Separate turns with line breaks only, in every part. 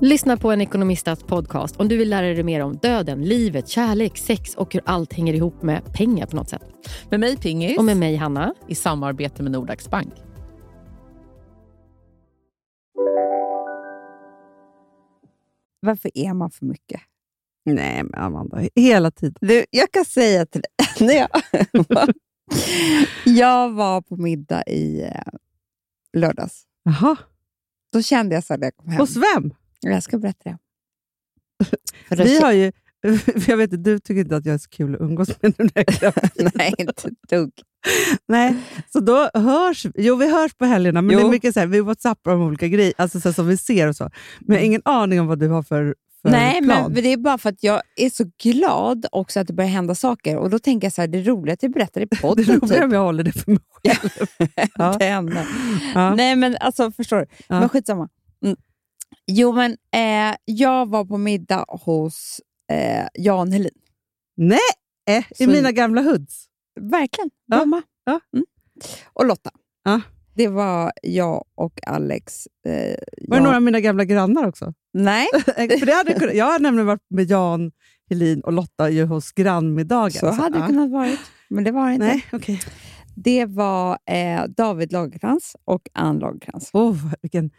Lyssna på en ekonomistats podcast om du vill lära dig mer om döden, livet, kärlek, sex och hur allt hänger ihop med pengar på något sätt.
Med mig Pingis.
Och med mig Hanna.
I samarbete med Nordax Bank.
Varför är man för mycket?
Nej, men Amanda, hela tiden.
Du, jag kan säga till dig, när jag, jag var på middag i eh, lördags.
Jaha,
Då kände jag så här när jag kom hem.
hos vem?
Jag ska berätta det. För det
Vi
kä-
har ju, för jag vet, att du tycker inte att jag är så kul att umgås med nu när jag är
Nej, inte ett dugg.
Nej, så då hörs Jo, vi hörs på helgerna, men
Jo.
det är mycket så här, vi whatsappar om olika grejer alltså så här, som vi ser och så. Men jag har ingen aning om vad du har för, för
Mm. Nej,
plan.
men det är bara för att jag är så glad också att det börjar hända saker. Och då tänker jag så här, det är roligt att jag berättar i
det
podden.
är roligare
typ.
om jag håller det för mig själv. Ja.
Det händer.
Ja.
Nej, men alltså förstår du?
Ja.
Men skitsamma. Mm. Jo, men eh, jag var på middag hos eh, Jan Helin.
Nej, eh, i
Så-
mina gamla hoods.
Verkligen.
Ja,
Mamma.
ja.
Mm. Och Lotta.
Ja.
Det var jag och Alex. Eh,
Var
Jan-
det några av mina gamla grannar också? Eh,
Nej,
för det hade, kunnat- jag har nämligen varit med Jan, Helin och Lotta ju hos grannmiddagen.
så hade det
ja.
kunnat varit. Men det var det inte.
Nej, okej.
Det var eh, David Lagercrantz och Ann Lagercrantz.
Oh, vilken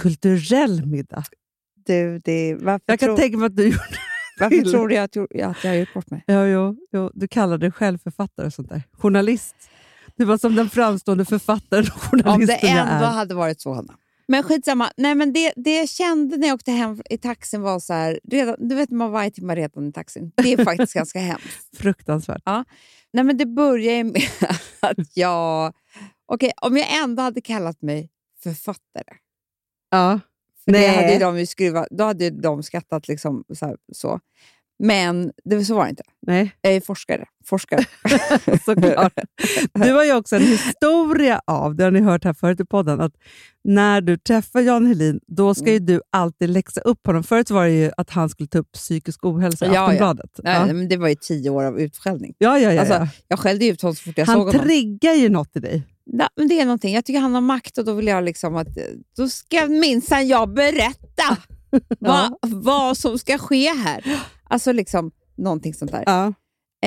kulturell middag.
Du, det, varför
Jag kan
tror,
tänka mig att du gjorde...
varför
till.
tror du att jag, gjorde- att jag har gjort bort mig?
Ja, jo, jo, du kallade dig själv författare och sånt där. Journalist. Du var som den framstående författaren och
Om
journalisten
det
jag
ändå
är.
hade varit så, Hanna. Men skitsamma. Nej, men det, det jag kände när jag åkte hem i taxin var så här... Redan, du vet, man var i timmar redan i taxin. Det är faktiskt ganska hemskt.
Fruktansvärt.
Nej, men det börjar ju med att jag... Okej, om jag ändå hade kallat mig författare,
Ja.
för det
Nej.
hade ju de ju skruvat, då hade ju de skrattat. liksom så. Här, så. Men det, så var det inte.
Nej,
Jag är forskare. forskare.
såklart. Du har ju också en historia av, det har ni hört här förut i podden, att när du träffar Jan Helin, då ska ju
Mm.
du alltid läxa upp honom. Förut var det ju att han skulle ta upp psykisk ohälsa i
Ja, ja.
Aftonbladet.
Nej,
Ja.
men det var ju tio år av utskällning.
Ja, ja, ja,
Alltså,
ja.
Jag skällde ut honom så fort jag såg
Han
honom.
triggar ju något i dig.
Nej, men det är någonting. Jag tycker han har makt och då vill jag liksom att... eh, Då ska minsann jag berätta vad, vad som ska ske här. Alltså liksom någonting sånt där.
Ja.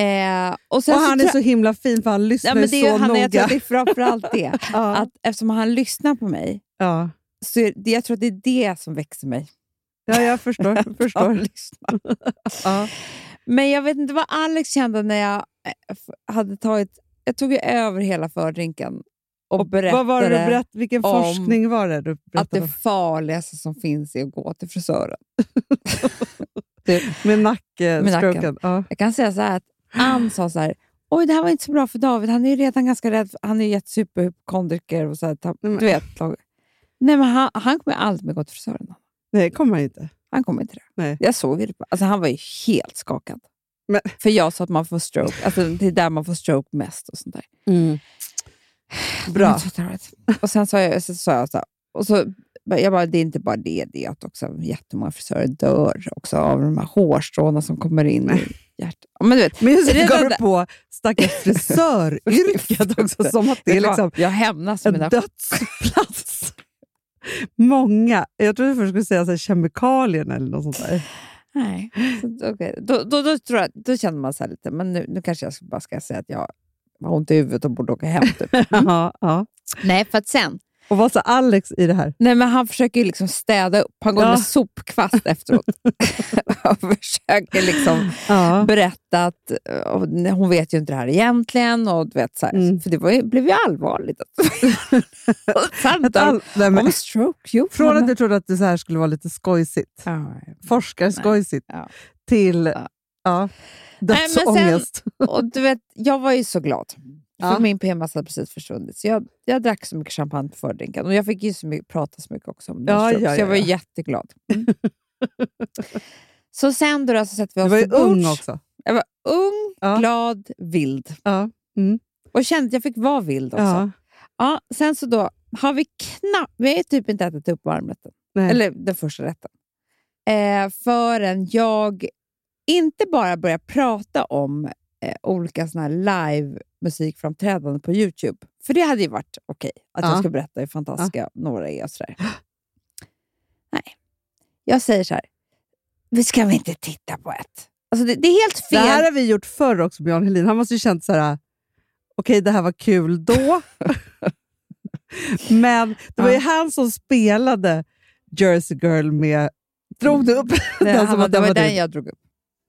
Eh, och
Och
sen så
han är
tror-
så himla fin för han lyssnar
Ja,
ju
men det är
så
ju han,
noga.
jag tror att det är framförallt det.
ja.
Att eftersom han lyssnar på mig,
Ja.
så är det, jag tror att det är det som växer mig.
ja, jag förstår. jag
Han
förstår.
lyssnar.
Ja.
Men jag vet inte vad Alex kände när jag eh, f- hade tagit... Jag tog ju över hela fördrinken och, berättade
Vad var det du berätt, vilken
om
forskning var det du
att
berättade
det farligaste som finns är att gå till frisören.
om? Med
Med nacken.
nackstroken. Ja.
Jag kan säga så här att Ann sa så här, oj det här var inte så bra för David, han är ju redan ganska rädd, för- han är ju jättesuperhypokondriker och så här, ta-
men-
du vet. lag- Nej men han, han kommer aldrig mer gå till frisören.
Nej, kommer han inte.
Han kommer inte det.
Nej.
Jag såg ju det. Alltså, han var ju helt skakad.
Men-
För jag sa att man får stroke. Alltså, det är där man får stroke mest. och sånt där.
Bra.
Men Mm, så tar jag det. Och sen sa jag, så sa jag så här, och så, jag bara, det är inte bara det, det är att också jättemånga frisörer dör också av de här hårstråna som kommer in i hjärtat. Ja, Men du vet,
Men just det,
Redan
gav du
där-
på stackars frisöryrket också, som att det är
vet du vad?
liksom
jag hämnas för
en
mina...
dödsplats. Många. Jag trodde först skulle säga så här, kemikalierna eller något sånt där.
Nej. Så, okay. då, då, då, tror jag, då känner man så här lite, men nu, nu kanske jag bara ska säga att jag har ont i huvudet och borde åka hem. Typ.
Ja, ja.
Nej, för att sen
Och vad sa Alex i det här?
Nej, men han försöker ju liksom städa upp. Han går
Ja.
med sopkvast efteråt. han försöker liksom
Ja.
berätta att eh, och, nej, hon vet ju inte det här egentligen. Och, du vet, så här,
Mm.
För det var ju, blev ju allvarligt.
Ett all- Nej, men-
Om stroke, jo.
Från
men-
att du trodde att det så här skulle vara lite skojsigt,
Mm. Ja,
forskarskojsigt,
Nej, ja.
till
Ja.
ja.
Nej, men sen-
dödsångest.
och du vet, jag var ju så glad. För
Ja.
min PMS hade precis försvunnit. Så jag, jag drack så mycket champagne på fördrinken. Och jag fick ju så mycket, prata så mycket också om min
Ja,
stroke.
ja,
Så jag
ja,
var ju
ja.
jätteglad. Mm. så sen då, då så sätter vi
Du
oss
var ju
till bords.
ung också.
Jag var ung,
Ja.
glad, vild.
Ja.
Och kände att jag fick vara vild också.
Ja.
Ja, sen så då har vi knappt... Vi har ju typ inte ätit upp varmrätten.
Nej.
Eller den första rätten. Eh, förrän jag inte bara börjar prata om eh, olika såna här live musikframträdanden på Youtube. För det hade ju varit okej att
Ja.
jag skulle berätta hur fantastiska några är och sådär. Nej. Jag säger så här. Vi ska väl inte titta på ett? Alltså det, det är helt
Det här
fel.
har vi gjort förr också med Jan Helin. Han måste ju känt så här, okej det här var kul då. Men det var ju
Ja.
han som spelade Jersey Girl med... Drog du upp
Det,
den
han,
som
var-
att
det
den
var
var
den
din?
jag drog upp.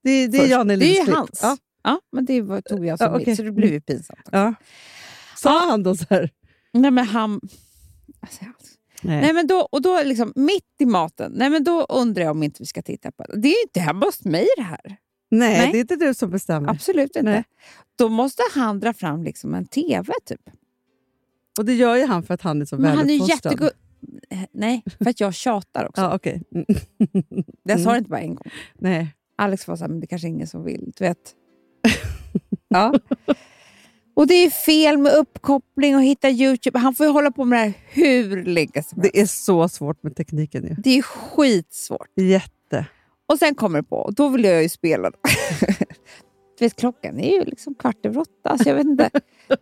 Det, det är
först.
Jan Helins
Det är ju
klipp.
hans.
Ja,
Ja, men det var, tog jag som
Ja, okej.
mitt, så det blev ju pinsamt.
ja. Sa han då så här?
Nej, men han... Alltså, jag-
Nej.
Nej, men då, och då liksom mitt i maten, nej, men då undrar jag om inte vi ska titta på det. Det är ju inte hemma hos mig det här.
Nej,
Nej.
det är inte du som bestämmer.
Absolut inte.
Nej.
Då måste han dra fram liksom en TV typ.
Och det gör ju han för att han är så
Men han är ju
väluppfostrad.
jättegod. Nej, för att jag tjatar också.
Ja, okej. Mm,
Jag sa
Mm.
det inte bara en gång.
Nej.
Alex var så här, men det kanske är ingen som vill. Du vet. ja. Och det är fel med uppkoppling och hitta Youtube. Han får ju hålla på med det här hur länge som helst.
Det är så svårt med tekniken ju.
Det är skitsvårt.
Jätte.
Och sen kommer det på, och då vill jag ju spela. du vet, klockan är ju liksom kvart över åtta, så jag vet inte.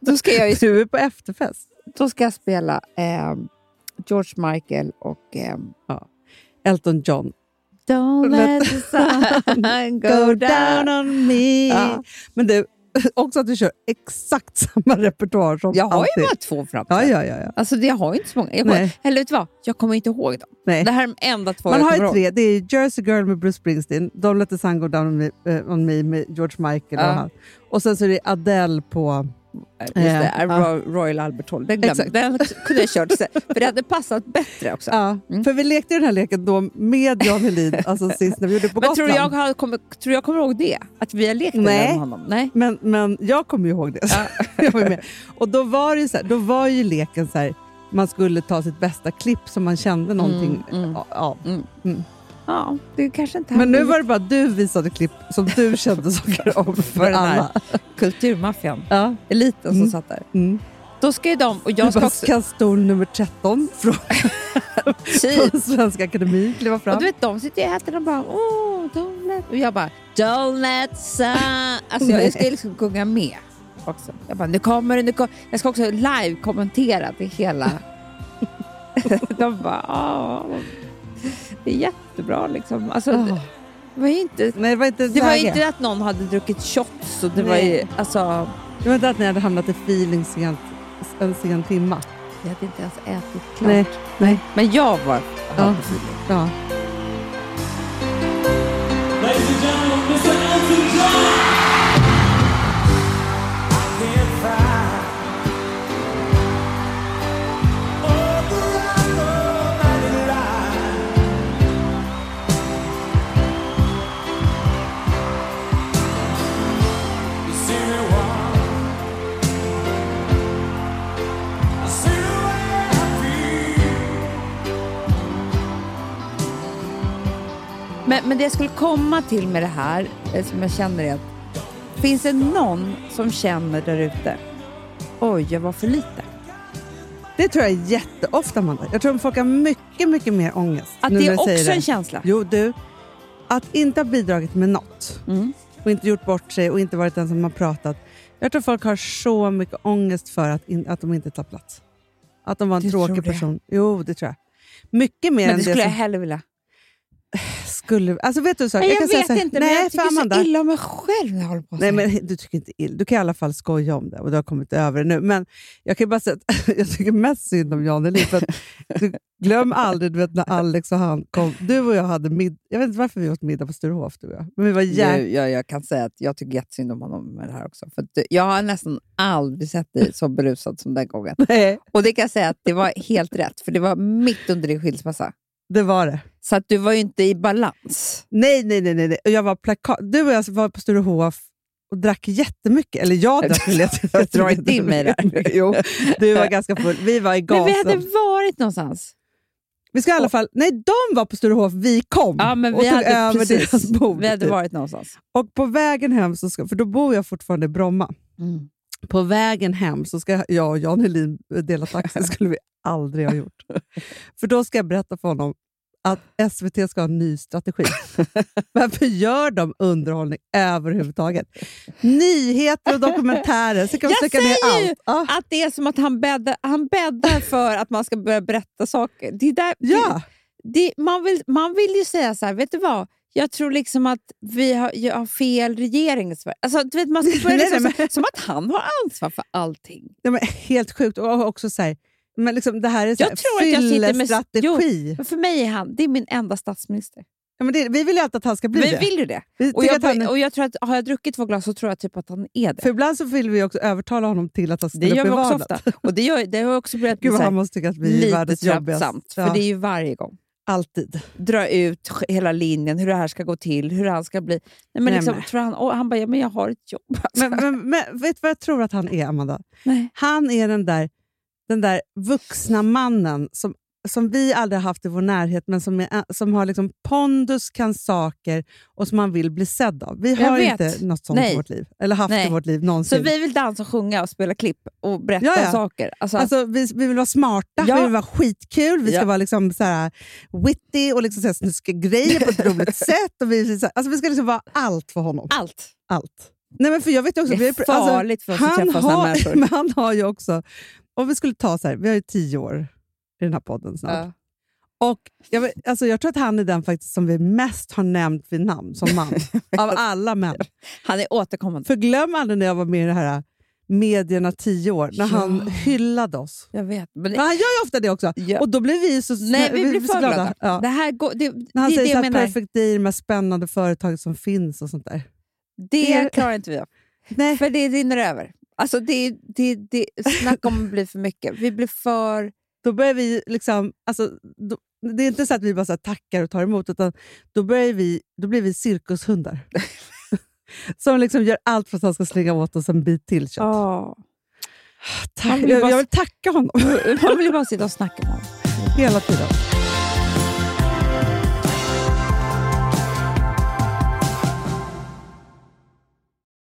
Då ska jag, ju,
Du är på efterfest.
då ska jag spela ehm, George Michael och ehm,
Elton John.
Don't
let
the sun
Go down on me.
Ja.
Men du, också att du kör exakt samma repertoar som
Jag har ju
alltid.
bara två
Ja,
framträdanden.
ja, ja. ja.
Alltså, jag har ju inte så många. Jag kommer,
Nej.
eller vet du vad? Jag kommer inte ihåg dem.
Nej.
Det här är de enda två
Man
jag
har
kommer
ju
ihåg.
tre. Det är Jersey Girl med Bruce Springsteen, Don't Let The Sun Go Down On Me, eh, on me med George Michael
Ja.
och han. Och sen så är det Adele på...
Just det,
Ja.
Ro- Royal Albert Hall. Den, glömde,
Exakt.
den kunde jag kört sen, för det hade passat bättre också.
Ja.
Mm.
För vi lekte ju den här leken då med Jan Helin, alltså sist när vi gjorde det på
Men tror
Gotland.
du jag, har- kommer, tror jag kommer ihåg det? Att vi har lekt den
Nej.
där med honom? Nej.
Men, men jag kommer ju ihåg det. så jag var ju med. Och då var, det ju så här, då var ju leken så här, man skulle ta sitt bästa klipp som man kände någonting
Mm, mm.
av.
Ja, du kanske inte
Men nu
hade
var det bara du visade klipp som du kände saker om för
den här.
alla.
kulturmaffian,
Ja.
eliten
Mm.
som satt där.
Mm.
Då ska ju de, och jag
Jag
ska
bara,
också...
kan stol nummer 13 från,
Typ.
från Svenska Akademin kliva
Och
fram.
du vet, de sitter ju och äter och bara åh, donut. Och jag bara donut sun. Alltså jag, jag ska ju liksom sjunga med också. Jag bara nu kommer det, nu kommer Jag ska också live kommentera till hela. de bara åh. Det är jättebra liksom. Alltså,
Ah.
det var ju inte...
Nej, det var inte
Det var ju
läge.
inte att någon hade druckit shots och det var
Nej.
ju alltså...
Det var inte att ni hade hamnat i feeling sent, en sen timma.
Jag hade inte ens ätit klart.
Nej, nej.
Men jag var...
Ja. Ja.
Ladies and gentlemen, Mr. Elton John. I can't find all the right romantic lines. You see me once, I see the way I feel.
Men, men det jag skulle komma till med det här, eh, som jag känner är att finns det någon som känner där ute, oj, jag var för lite.
Det tror jag är jätteofta, Amanda. Jag tror folk har mycket, mycket mer ångest.
Att
nu
det
när
är
jag
också
säger
en känsla.
Jo, du. Att inte ha bidragit med något
Mm.
och inte gjort bort sig och inte varit den som har pratat. Jag tror folk har så mycket ångest för att, in, att de inte tar plats. Att de var en
Du
tråkig
tror det?
person. Jo, det tror jag. Mycket mer
Men
än
det
det,
skulle jag
som
hellre vilja.
skulle... Alltså vet du så, här,
Nej,
kan
jag
säga så
vet
här,
inte,
nej,
men jag
för
tycker
Amanda,
så illa om mig själv när jag håller på så
Nej,
här.
men du tycker inte ill. Du kan i alla fall skoja om det och du har kommit över det nu. Men jag kan ju bara säga att jag tycker mest synd om Jan Elin. För att du, glöm aldrig du vet, när Alex och han kom. Du och jag hade middag. Jag vet inte varför vi åt middag på Sturehof, du och jag. Men vi var jäkla...
Nu, jag, jag kan säga att jag tycker jättesynd om honom med det här också. För att du- jag har nästan aldrig sett dig så berusad som den gången.
Nej,
Och det kan jag säga att det var helt rätt, för det var mitt under din skilsmässa.
det var det.
Så att du var ju inte i balans.
Nej, nej, nej. nej, nej. Och Jag var plaka- du och jag var på Sturehof och drack jättemycket. Eller jag drack väl jätte-
Jag drar inte in mig där.
Jo, du var ganska full. Vi var i gasen.
Men vi hade varit någonstans.
Vi ska i alla fall... Nej, de var på Sturehof. Vi kom
Ja, men
Mm. och
vi
tog
hade,
över
precis,
deras bord.
Vi hade
typ.
varit någonstans.
Och på vägen hem, så ska, för då bor jag fortfarande i Bromma, På vägen hem så ska jag och Jan Helin dela taxi. skulle vi aldrig ha gjort. För då ska jag berätta för honom att SVT ska ha en ny strategi. Varför gör de underhållning överhuvudtaget? Nyheter och dokumentärer. Så kan vi
Jag
trycka ner
säger ju
allt. Ja.
Att det är som att han bäddar, han bäddar för att man ska börja berätta saker. Det är där,
Ja,
det, man, vill, man vill ju säga så här, vet du vad? Jag tror liksom att vi har, jag har fel regering i Sverige. Alltså, du vet, man ska börja
Nej,
liksom,
nej,
så- som att han har ansvar för allting.
det var helt sjukt. Och också så här, men liksom, det här är så
Jag
här,
tror att jag sitter med-
fyllestrategi.
Men för mig är han det är min enda statsminister.
Ja, men det, vi vill ju alltid att han ska bli
Vi
det.
vill ju det.
Vi
Och
tycker
jag,
att han är-
bör- och jag tror att har jag druckit två glas så tror jag typ att han är det.
För ibland så vill vi också övertala honom till att han
Det
ställer
gör
upp
vi
i
också
valet.
ofta. Och det, gör, det har jag också börjat bli
Gud
så
vad
här
han måste tycka att vi är
lite
världens jobbigaste.
trappsamt.
Ja,
För det är ju varje gång.
Alltid.
dra ut sk- hela linjen, hur det här ska gå till, hur han ska bli. Nej, men
Nej,
liksom,
men.
Tror han, och han bara, ja, men jag har ett jobb. Alltså.
Men, men, men vet du vad jag tror att han är, Amanda?
Nej.
Han är den där, den där vuxna mannen som, som vi aldrig har haft i vår närhet, men som, är, som har liksom pondus, kan saker och som man vill bli sedd av. Vi
Jag
har
vet.
inte något sånt
Nej.
i vårt liv, eller haft
Nej.
i vårt liv
så
någonsin.
vi vill dansa, sjunga, och spela klipp och berätta
Alltså- Ja, ja.
saker. Alltså,
Alltså, vi, vi vill vara smarta,
Ja.
vi vill vara skitkul, vi ska
Ja.
vara liksom så här witty och liksom så här snuska grejer på ett roligt sätt. Och vi, vill så här, alltså, vi ska liksom vara allt för honom.
allt.
Allt. Nej, men för jag vet ju också,
Det är
vi har ju-
farligt för oss att träffa såna
har,
människor.
Men han har ju också, om vi skulle ta så här, vi har ju tio år i den här podden snart.
Ja.
Och jag, vet- alltså, jag tror att han är den faktiskt som vi mest har nämnt vid namn som man, av alla män.
Han är återkommande.
För glöm aldrig när jag var med i det här äh, medierna tio år, när han
Ja.
hyllade oss.
Jag vet. Men
Men han gör ju ofta det också.
Ja.
Och då blir vi så,
nej, vi blir
så
för glada.
Ja.
Det, här går, det, det
När han
är det
säger
jag
så här,
menar.
perfect day, de här spännande företag som finns och sånt där.
Det klarar inte vi av.
Nej.
För det rinner över. Alltså, det, det, det, snack om att bli för mycket. Vi blir för...
Då börjar vi liksom, alltså, då, det är inte så att vi bara så här tackar och tar emot, utan då, börjar vi, då blir vi cirkushundar. som liksom gör allt för att han ska slänga åt oss en bit till kött.
Oh.
Tack.
vill
Jag,
bara-
jag vill tacka honom
Man vill ju bara sitta och snacka med honom.
hela tiden.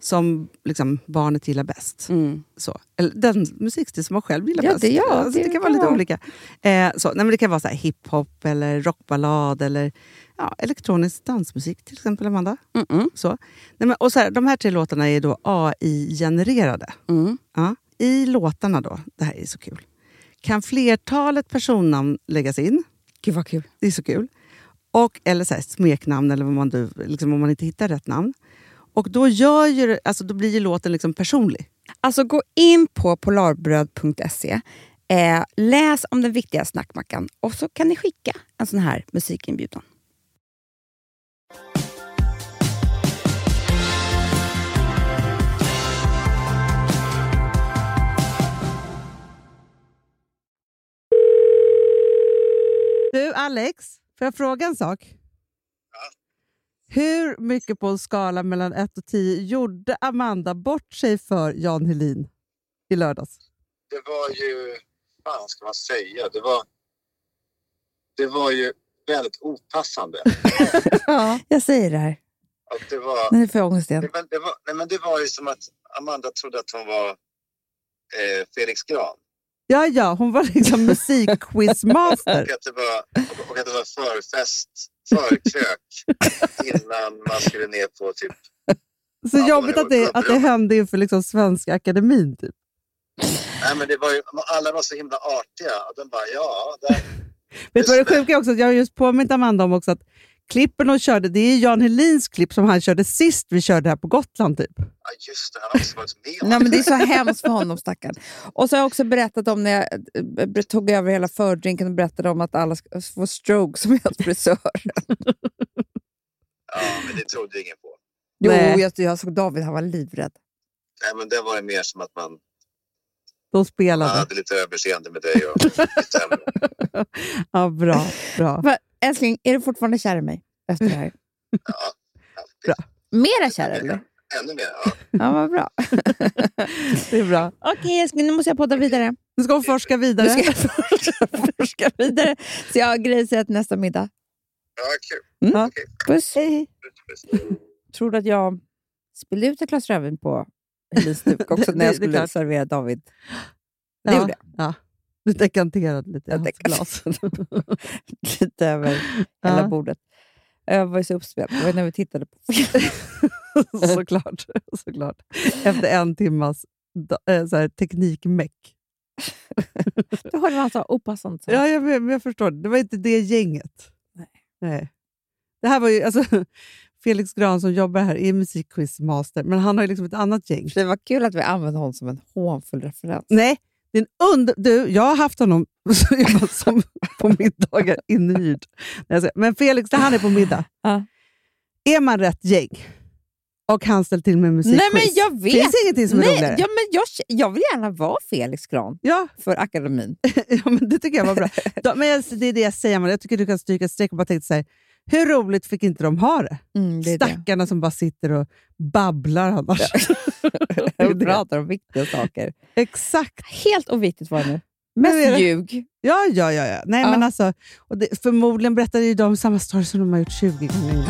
som liksom, barnet gillar bäst. Så. Eller den musikstil som man själv gillar
Mm. Ja,
bäst.
det- ja,
alltså, det,
det
kan vara
kan
lite
vara.
olika. Eh, så. Nej, men det kan vara så här hiphop, eller rockballad eller ja, elektronisk dansmusik till exempel, Amanda. Så. Nej, men, och så här, de här tre låtarna är då AI-genererade.
Mm.
Ja. I låtarna då, det här är så kul, kan flertalet personnamn läggas in.
Gud vad kul.
Det är så kul. Och, eller så här, smeknamn, eller vad man, du- liksom, om man inte hittar rätt namn. Och då, gör ju, det- alltså, då blir ju låten liksom personlig.
Alltså gå in på polarbröd.se, eh, läs om den viktiga snackmackan och så kan ni skicka en sån här musikinbjudan.
Du Alex, får jag fråga en sak? Hur mycket på en skala mellan 1 och 10 gjorde Amanda bort sig för Jan Helin i lördags?
det var ju, fan ska man säga, det var, det var ju väldigt opassande.
Jag säger det här.
Att det, var,
Nu får jag ångest igen.
det, var, det, var, nej men det var ju som att Amanda trodde att hon var eh, Felix Gran.
Ja, ja, hon var liksom musikquizmaster.
Och att det var, och att det var förfest, förkrök innan man skulle ner på typ...
Så
Ja,
jobbigt
det
att det, att det hände inför liksom Svenska Akademin. Typ.
Nej men det var ju, alla var så himla artiga. Och den bara, ja, där,
Vet du vad det sjuka är också? Jag har just påmint Amanda om också att klippen hon körde, det är Jan Helins klipp som han körde sist vi körde här på Gotland. Typ.
ja, just det, han har också varit med om
Nej, men det är så hemskt för honom stackaren. Och så har jag också berättat om när jag eh, tog över hela fördrinken och berättade om att alla ska få stroke som är hans frisör.
Ja, men det trodde ingen på.
Jo,
Nej.
jag, jag såg David, han var livrädd.
Nej men det var ju mer som att man,
De
man
spelade.
hade lite överseende med dig och lite ämne.
Ja, bra, bra.
Va, älskling, är du fortfarande kär i mig efter det här?
Bra.
Mera kär eller?
Ännu mer. Ja.
Ja, vad bra.
Det är bra.
Okej älskling, nu måste jag podda vidare.
Nu ska hon forska
Nu
vidare.
ska jag forska, forska vidare. Så jag har grejer att säga till nästa middag.
Ja, kul.
Mm, Puss.
Puss.
Tror du att jag spillde ut ett glas rödvin på Helins duk också
Det-
när jag
det- det är
skulle
klart.
servera David?
Ja,
Det gjorde
Ja. Du dekanterade lite. i
Jag
hans glas.
tänkte- Lite över hela
Ja.
bordet. Jag var ju så uppspelt. Det var när vi tittade på
såklart, såklart. Efter en timmas da- eh, så här, teknikmäck.
Du hörde vad han sa, opassande. sa han.
Ja, jag, men jag förstår. Det var inte det gänget. Nej. Det här var ju, alltså, Felix Gran som jobbar här är musikquizmaster, men han har ju liksom ett annat gäng.
Det var kul att vi använde honom som en hånfull referens.
Nej, det är en under... Du, jag har haft honom som- som på middagar inhyrd. Nej, jag skojar. Men Felix, när han är på middag,
Ja.
är man rätt gäng och han ställt till med musikquiz,
Nej, men jag vet.
finns ingenting som är
Nej,
roligare.
ja, men jag, jag vill gärna vara Felix Gran
Ja,
för akademin.
ja, men det tycker jag var bra. Då, men jag, det är det jag säger, Amanda. jag tycker du kan stryka ett streck och bara tänka så här, Hur roligt fick inte de ha det?
Mm, det är det.
Stackarna som bara sitter och babblar annars.
Vi pratar om viktiga saker.
Exakt.
Helt oviktigt var det nu.
Nu är det-
Mest ljug.
Ja, ja, ja. ja. Nej,
Ja.
Men alltså, och det, förmodligen berättade ju de samma story som de har gjort 20 gånger innan.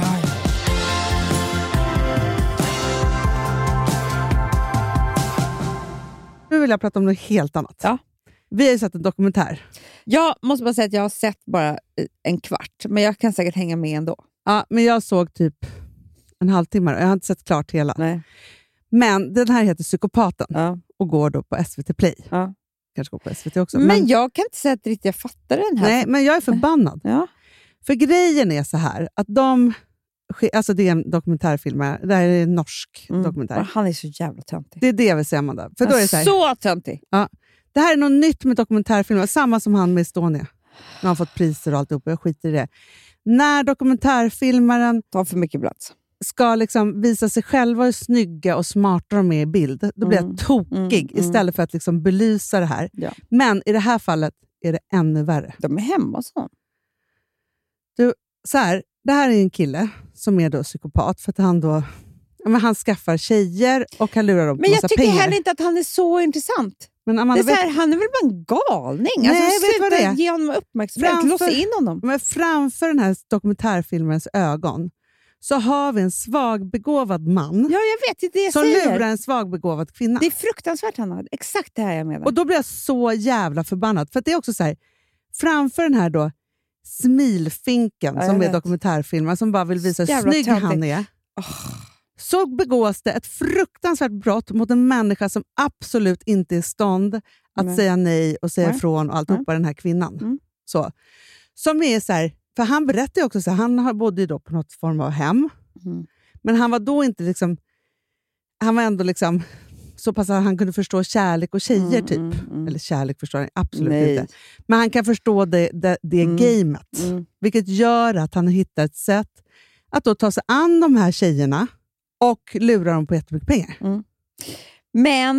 Nu vill jag prata om något helt annat.
Ja.
Vi har ju sett en dokumentär.
Jag måste bara säga att jag har sett bara eh, en kvart, men jag kan säkert hänga med ändå.
Ja, men jag såg typ en halvtimme. och Jag har inte sett klart hela.
Nej.
Men den här heter Psykopaten
Ja.
och går då på SVT Play.
Ja.
Kanske går på SVT också.
Men,
men-
jag kan inte säga att riktigt jag fattar den här.
Nej, men jag är förbannad.
Ja.
För grejen är så här att de... sk- Alltså det är en dokumentärfilm, här. det här är en norsk
Mm. Och
dokumentär.
Han är så jävla töntig.
Det är det jag vill säga, Amanda. För då är det, så här,
så töntig!
det här är något nytt med dokumentärfilmer, samma som han med Estonia. När han fått priser och alltihop, jag skiter i det. När dokumentärfilmaren
Tar för mycket plats.
ska liksom visa sig själva hur snygga och smarta de är i bild, då blir
Mm.
jag tokig
Mm, mm.
istället för att liksom belysa det här.
Ja.
Men i det här fallet är det ännu värre.
De är hemma hos honom.
så här, det här är en kille som är då psykopat för att han då ja, men han skaffar tjejer och han lurar dem på
Men
massa
jag tycker
pengar.
heller inte att han är så intressant.
Men
Det
Amanda,
är så
vet,
här, han är väl bara en galning?
Nej,
alltså,
vet du vad det
sluta
är?
ge honom uppmärksamhet.
Framför- Mm.
Lås in honom.
men framför den här dokumentärfilmens ögon så har vi en svagbegåvad man
Ja, jag vet. Det är det jag
som
säger.
lurar en svagbegåvad kvinna.
Det är fruktansvärt, Hanna. Exakt det här jag menar.
Och då blir jag så jävla förbannad. För att det är också så här, framför den här då smilfinken
Ja, jag
som är
vet.
dokumentärfilmen som bara vill visa hur
Jävla
snygg
töntig.
han är. Så begås det ett fruktansvärt brott mot en människa som absolut inte är i stånd att
Nej.
säga nej och säga
Nej.
ifrån och alltihopa, den här kvinnan.
Mm.
Så. Som är så här, för han berättar ju också så här, han har- bodde ju då på något form av hem.
Mm.
Men han var då inte liksom, han var ändå liksom så pass att han kunde förstå kärlek och tjejer
Mm,
typ.
mm, mm.
Eller kärlek förstår han absolut
Nej.
inte. Men han kan förstå det, det, det
Mm.
gamet.
Mm.
Vilket gör att han hittar ett sätt att då ta sig an de här tjejerna och lura dem på jättemycket pengar.
Men,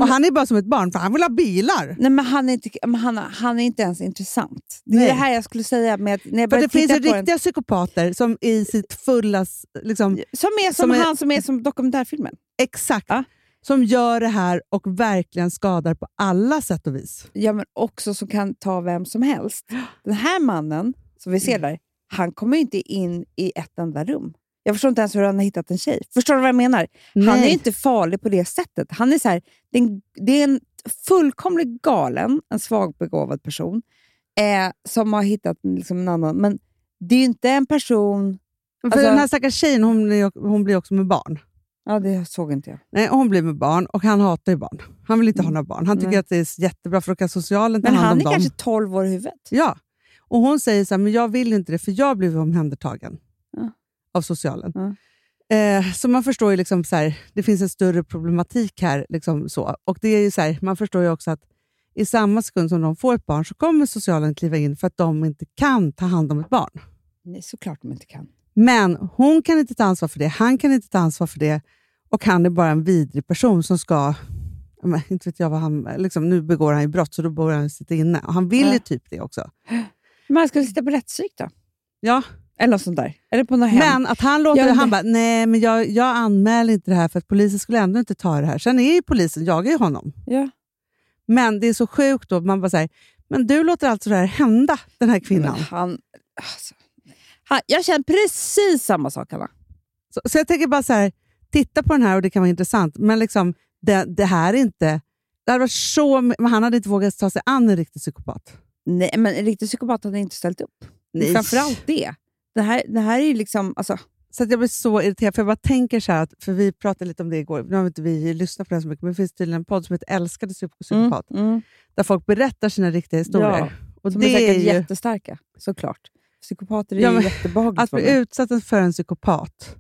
Och
Mm.
han är bara som ett barn, för han vill ha bilar.
nej, men, han, är inte, men han, han är inte ens intressant. Det är
Nej.
det här jag skulle säga. Med att, när jag
För
började
det finns
titta
ju
på
riktiga psykopater som i sitt fulla... s- Liksom,
Den, som är som,
som är-
han som är som dokumentärfilmen.
exakt.
Ja.
Som gör det här och verkligen skadar på alla sätt och vis.
Ja, men också som kan ta vem som helst. Den här mannen som vi ser där, han kommer ju inte in i ett enda rum. Jag förstår inte ens hur han har hittat en tjej. Förstår du vad jag menar? Han är ju
Nej.
inte farlig på det sättet. Han är så här, det, är en, det är en fullkomligt galen, en svagbegåvad person eh, som har hittat liksom en annan. Men det är ju inte en person...
För
Alltså-
den här stackars tjejen hon, är- hon blir också med barn.
Ja, det såg inte jag.
Nej, hon blir med barn och han hatar ju barn. Han vill inte ha några barn. Han tycker
Mm. Nej.
att det är jättebra för då kan socialen ta
Men han
hand
är
om dem.
kanske 12 år i huvudet.
Ja. Och hon säger så här, men jag vill inte det för jag blev omhändertagen
Ja.
av socialen.
Ja.
Eh, så man förstår ju liksom så här, det finns en större problematik här. Liksom så. Och det är ju så här, man förstår ju också att i samma sekund som de får ett barn så kommer socialen kliva in för att de inte kan ta hand om ett barn.
Nej, såklart de inte kan.
Men hon kan inte ta ansvar för det, han kan inte ta ansvar för det och han är bara en vidrig person som ska... ja, Men, inte vet jag vad han... Liksom, nu begår han ju brott så då borde han sitta inne. Och han vill ju
Ja.
typ det också.
Men han skulle sitta på rättspsyk då?
Ja,
Eller något sånt där. Eller på något hem.
Men att han låter
Jag
det,
undrar-
han bara, nej men jag, jag anmäler inte det här för att polisen skulle ändå inte ta det här. Sen är ju polisen, jagar ju honom.
Ja.
Men det är så sjukt då, man bara säger men du låter alltså det här hända den här
Men
kvinnan.
han, alltså, han, jag känner precis samma sak, Hanna.
Så, så jag tänker bara så här, titta på den här och det kan vara intressant, men liksom, det, det här är inte... Det hade varit så, men han hade inte vågat ta sig an en riktig psykopat.
Nej, men en riktig psykopat hade inte ställt upp.
Nej.
Framförallt det. Det här, det här är ju liksom... Alltså,
Så att jag blir så irriterad, för jag bara tänker så här, att, för vi pratade lite om det igår, nu har inte vi lyssnat på det här så mycket, men det finns tydligen en podd som heter Älskade psyk-
mm,
psykopat,
mm,
där folk berättar sina riktiga historier.
Ja,
och
som
det
är säkert
är ju,
jättestarka, såklart. Psykopater är
Ja, men-
ju jättebehagligt.
Att
för
bli
mig.
utsatt för en psykopat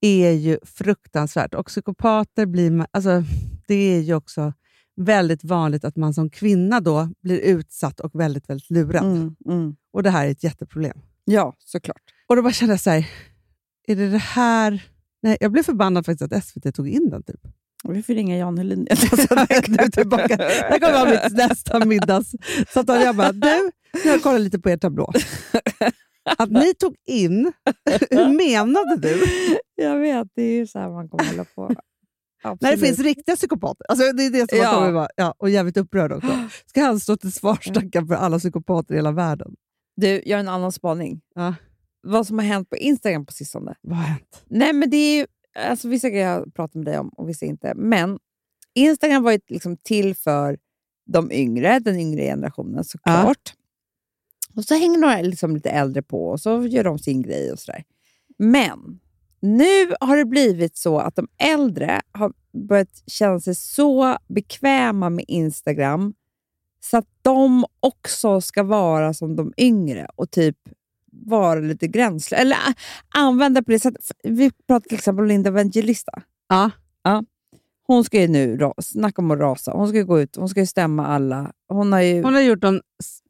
är ju fruktansvärt. Och psykopater blir man, alltså, det är ju också väldigt vanligt att man som kvinna då blir utsatt och väldigt, väldigt lurad.
Mm, mm.
Och det här är ett jätteproblem.
Ja, såklart.
Och då bara kände jag så här, är det det här... Nej, jag blev förbannad faktiskt att SVT tog in den. Typ.
Vi får ringa Jan Helin.
du är tillbaka. Där kommer jag mitt nästa middagssamtal. Jag bara, du, nu har jag kollat lite på er tablå. Att ni tog in, hur menade du?
Jag vet, det är ju så här man kommer hålla på.
När det
Absolut.
finns riktiga psykopater. Alltså det är det som man
Ja.
kommer vara, ja, och jävligt upprörd också. Ska han stå till svars stackarn, för alla psykopater i hela världen?
Du, jag har en annan spaning.
Ja.
Vad som har hänt på Instagram på sistone.
Vad har hänt?
Nej, men det är ju, alltså, vissa grejer har jag pratat med dig om och vissa inte. Men Instagram var ju liksom till för de yngre, den yngre generationen såklart. Och så hänger några liksom lite äldre på och så gör de sin grej och sådär. Men nu har det blivit så att de äldre har börjat känna sig så bekväma med Instagram så att de också ska vara som de yngre och typ vara lite gränslösa. Eller äh, använda på det sättet. För Vi pratade till exempel om Linda Evangelista.
Ja.
ja. Hon ska ju nu, ra- snacka om att rasa, hon ska ju gå ut, hon ska ju stämma alla. Hon har ju...
Hon har gjort någon s-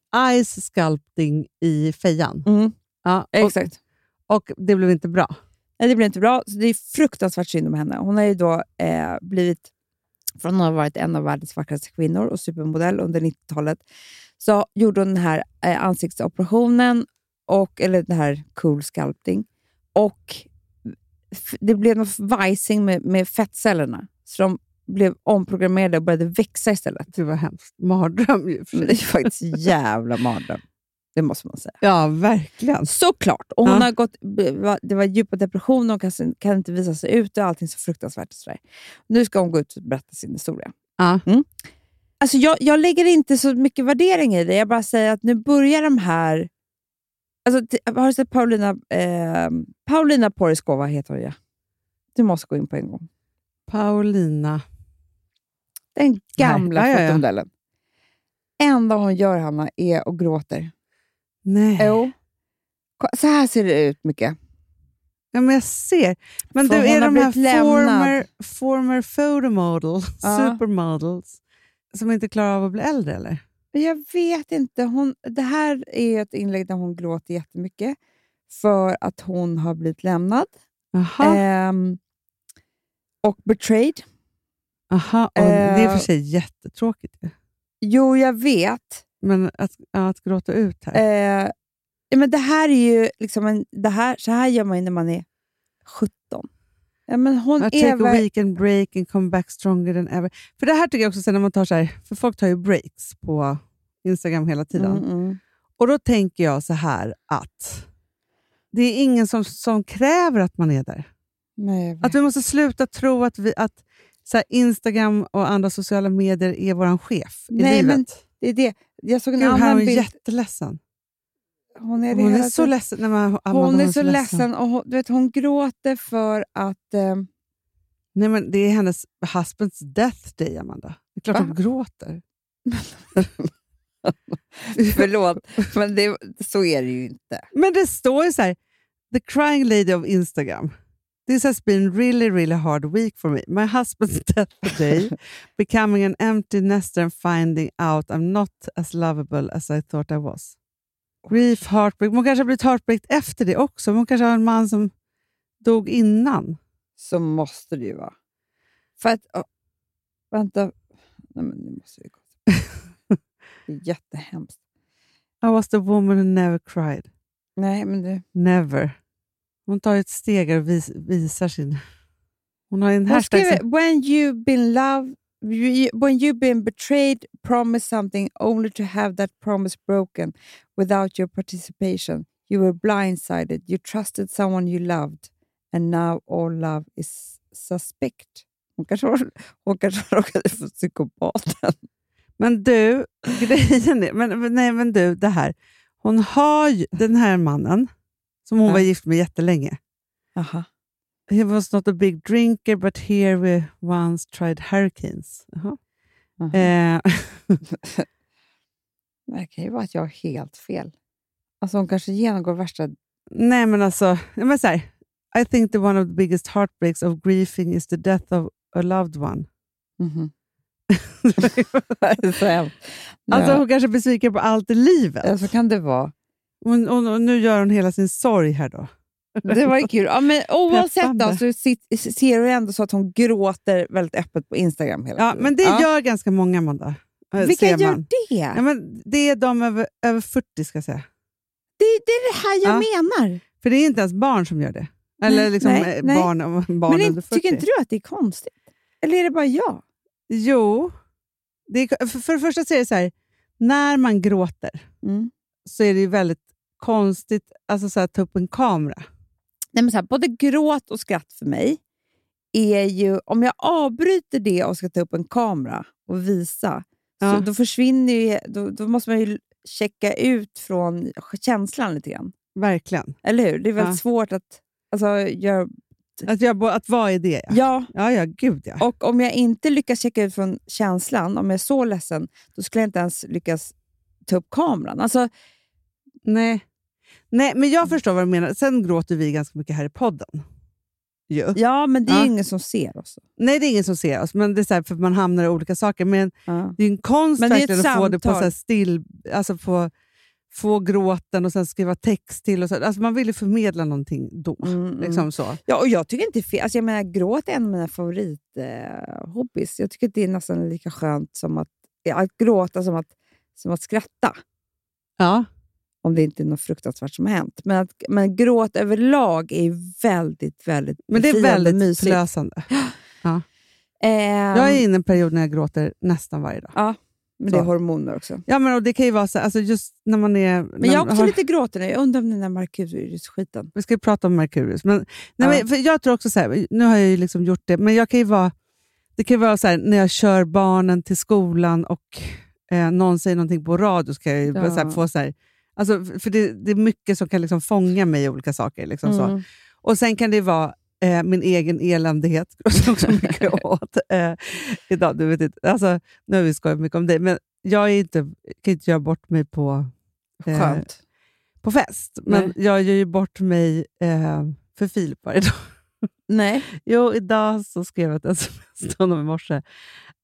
ice sculpting i fejan.
Mm,
Ja, och,
exakt.
och det blev inte bra.
Nej, det blev inte bra. Så det är fruktansvärt synd om henne. Hon har ju då eh, blivit, från att ha varit en av världens vackraste kvinnor och supermodell under 90-talet, så gjorde hon den här eh, ansiktsoperationen, och, eller den här cool sculpting. Och f- det blev någon vajsing med, med fettcellerna, så de blev omprogrammerade och började växa istället.
Det var hemskt. Mardröm ju. för
Men
sig.
det är ju faktiskt jävla mardröm. Det måste man säga.
Ja, verkligen.
Såklart. Och hon
Ja.
har gått, det var djupa depressioner, hon kan, kan inte visa sig ut och allting är så fruktansvärt. Och sådär. Nu ska hon gå ut och berätta sin historia.
Ja.
Mm. Alltså jag, jag lägger inte så mycket värdering i det. Jag bara säger att nu börjar de här... Alltså, t- har du sett Paulina, eh, Paulina Poriskova? heter hon ja. Du måste gå in på en gång.
Paulina.
Den gamla
Nej, ja, ja, ja.
fotomodellen. enda hon gör, Hanna, är och gråter.
Nej.
Jo. Ko- Så här ser det ut, mycket.
Ja, men jag ser. Men
För
du,
hon
är
har
de här
blivit lämnad.
former, former photomodel,
Ja.
supermodels, som inte klarar av att bli äldre eller?
Men Jag vet inte. Hon, det här är ett inlägg där hon gråter jättemycket för att hon har blivit lämnad
Jaha,
ehm, och betrayed.
aha. Och det är
eh.
för sig jättetråkigt. ju.
Jo, jag vet.
Men att, ja, att gråta ut här.
Eh, ja, men det här är ju liksom en, det här, så här gör man ju när man är 17. Ja, men hon
I
är
take a
väl,
weekend break and come back stronger than ever. För det här tycker jag också, sen när man tar så här, för folk tar ju breaks på Instagram hela tiden.
Mm, mm.
Och då tänker jag så här att det är ingen som, som kräver att man är där.
Nej, jag vet.
Att vi måste sluta tro att, vi, att så här, Instagram och andra sociala medier är vår chef i
Nej,
livet.
men det är det. Jag såg en
Gud, här är
annan
hon
bild.
jätteledsen.
Hon är, det
Hon är
hela
så
tiden.
ledsen. Nej, men, Amanda,
Hon är så ledsen och hon, du vet, hon gråter för att ehm,
Nej, men det är hennes husbands death day, Amanda. Det är klart
Va?
hon gråter.
Förlåt, men det, så är det ju inte.
Men det står ju så här, the crying lady of Instagram. This has been really, really hard week for me. My husband's death today, becoming an empty nester and finding out I'm not as lovable as I thought I was. Grief, heartbreak. Men Hon kanske har blivit heartbreaked efter det också. men Hon kanske har en man som dog innan.
Så måste det ju vara. För att... åh, vänta. Nej, men nu måste vi gå. Det är jättehemskt.
I was the woman who never cried.
Nej, men du.
Never. Hon tar ett steg och vis, visar sin... Hon har en
Hon
hashtag
skriver
som...
“When you've been loved, you- when you've been betrayed, promise something only to have that promise broken without your participation. You were blindsided, you trusted someone you loved and now all love is suspect.” Hon kanske har- hon kanske har råkat få psykopaten.
Men du, grejen är... Men, men- nej, men du, det här. Hon har ju den här mannen, som hon
Ja.
var gift med jättelänge.
Aha.
He was not a big drinker, but here we once tried hurricanes. Jaha.
Aha.
Eh,
Det kan ju vara att jag har helt fel. Alltså hon kanske genomgår värsta...
nej, men alltså... ja, Men så här, I think the one of the biggest heartbreaks of grieving is the death of a loved one.
Mhm. Det är så hemskt.
Alltså
ja.
Hon kanske är besviken på allt i livet.
ja, Så kan det vara.
Hon, hon, och nu gör hon hela sin sorg här då.
Det var ju kul. Ja, men oavsett då,
Peppande.
så sit- ser du ändå så att hon gråter väldigt öppet på Instagram hela
Ja,
tiden.
men det gör ganska många, Amanda. eh,
Vilka
ser
gör
man.
det?
Ja, men det är de över, över 40, ska jag säga.
Det, det är det här jag menar.
För det är inte ens barn som gör det. Eller liksom
nej,
eh,
nej.
barn, om- barn
Men
under
inte,
40.
tycker inte du att det är konstigt? Eller är det bara jag?
Jo. Det är, för, för det första så är det så här, när man gråter
Mm.
så är det ju väldigt konstigt alltså så här, att ta upp en kamera.
Nej, men så här, både gråt och skratt för mig är ju... Om jag avbryter det och ska ta upp en kamera och visa,
Ja.
så då försvinner ju... Då, då måste man ju checka ut från känslan lite grann.
Verkligen.
Eller hur? Det är väldigt
Ja.
svårt att... Alltså, göra
Att, jag, bo- att vara i det, ja.
ja,
Ja, ja, gud ja.
och om jag inte lyckas checka ut från känslan, om jag är så ledsen, då skulle jag inte ens lyckas ta upp kameran. Alltså,
Nej. Nej, men jag förstår vad du menar. Sen gråter vi ganska mycket här i podden. Jo.
ja, men det är ju
Ja.
ingen som ser oss.
Nej, det är ingen som ser oss, men det är så här, för att man hamnar i olika saker. Men
Ja.
det är ju en konst
Men det är ett
verkligen att få det på så
samtal.
här still... Alltså få, få gråten och sen skriva text till. Och så. Alltså man vill ju förmedla någonting då.
Mm, mm.
Liksom så.
Ja, och jag tycker inte det är fel. Alltså, jag menar, gråt är en av mina favorithobbies. Eh, hobbies. jag tycker att det är nästan lika skönt som att, ja, att gråta som att, som att skratta.
Ja.
Om det inte är något fruktansvärt som har hänt. Men, att, men gråt överlag är ju väldigt, väldigt
Men det är
befriande och
väldigt
mysigt.
förlösande.
Eh,
Jag är inne i en period när jag gråter nästan varje dag.
Men det är
så.
hormoner också.
Ja, men och det kan ju vara så, alltså just när man är... när
Men jag
man
är också
har-
lite gråten. Jag undrar om den där Markurius-skiten.
Vi ska ju prata om Merkurius. Men, nej,
Ja.
men, för jag tror också så här, nu har jag ju liksom gjort det, men jag kan ju vara, det kan ju vara så här, när jag kör barnen till skolan och eh, någon säger någonting på radio, så kan jag ju bara så här,
Ja.
få så här, alltså, f- för det, det är mycket som kan liksom fånga mig i olika saker. Liksom så.
Mm.
Och sen kan det vara eh, min egen eländighet, som jag också mycket åt eh, idag. Du vet inte, alltså, nu har vi skojat mycket om dig, men jag är inte, kan inte göra bort mig på eh,
Skönt.
på fest, men
Nej.
jag gör ju bort mig eh, för Filip varje dag.
Nej.
Jo, idag så skrev jag ett sms till honom i morse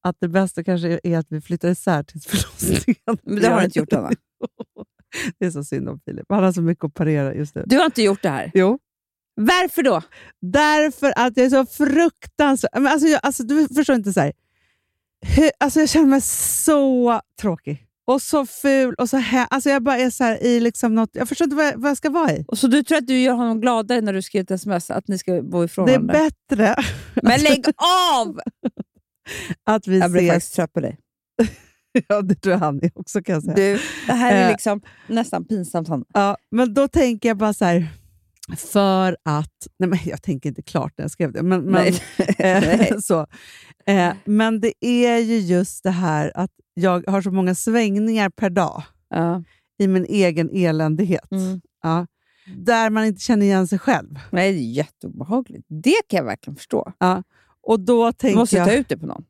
att det bästa kanske är att vi flyttar isär tills förlossningen.
Men det har du inte gjort, Anna.
Det är så synd om Filip. Han har så mycket att parera just nu.
Du har inte gjort det här.
Jo.
Varför då?
Därför att jag är så fruktansvärt... Men alltså, jag, alltså, du förstår inte. så här. Hur, alltså, Jag känner mig så tråkig och så ful. och så hä- alltså, Jag bara är så här i liksom något... Jag förstår inte vad jag, vad jag ska vara i.
Och så du tror att du gör honom gladare när du skriver ett sms att ni ska bo ifrån
Det är
varandra?
bättre
Men lägg av!
att vi
Jag blir
ses
faktiskt trött på dig.
Ja, det tror jag han är också kan jag säga.
Du, det här är
Eh.
liksom nästan pinsamt. Hanna.
Ja, men då tänker jag bara så här, för att... Nej, men jag tänker inte klart när jag skrev det. Men, men,
Nej.
eh, så. Eh, men det är ju just det här att jag har så många svängningar per dag
Ja.
i min egen eländighet.
Mm.
Ja, där man inte känner igen sig själv.
Nej, det är jätteobehagligt. Det kan jag verkligen förstå.
Och då
Du
tänker
måste
jag...
ta ut det på någon.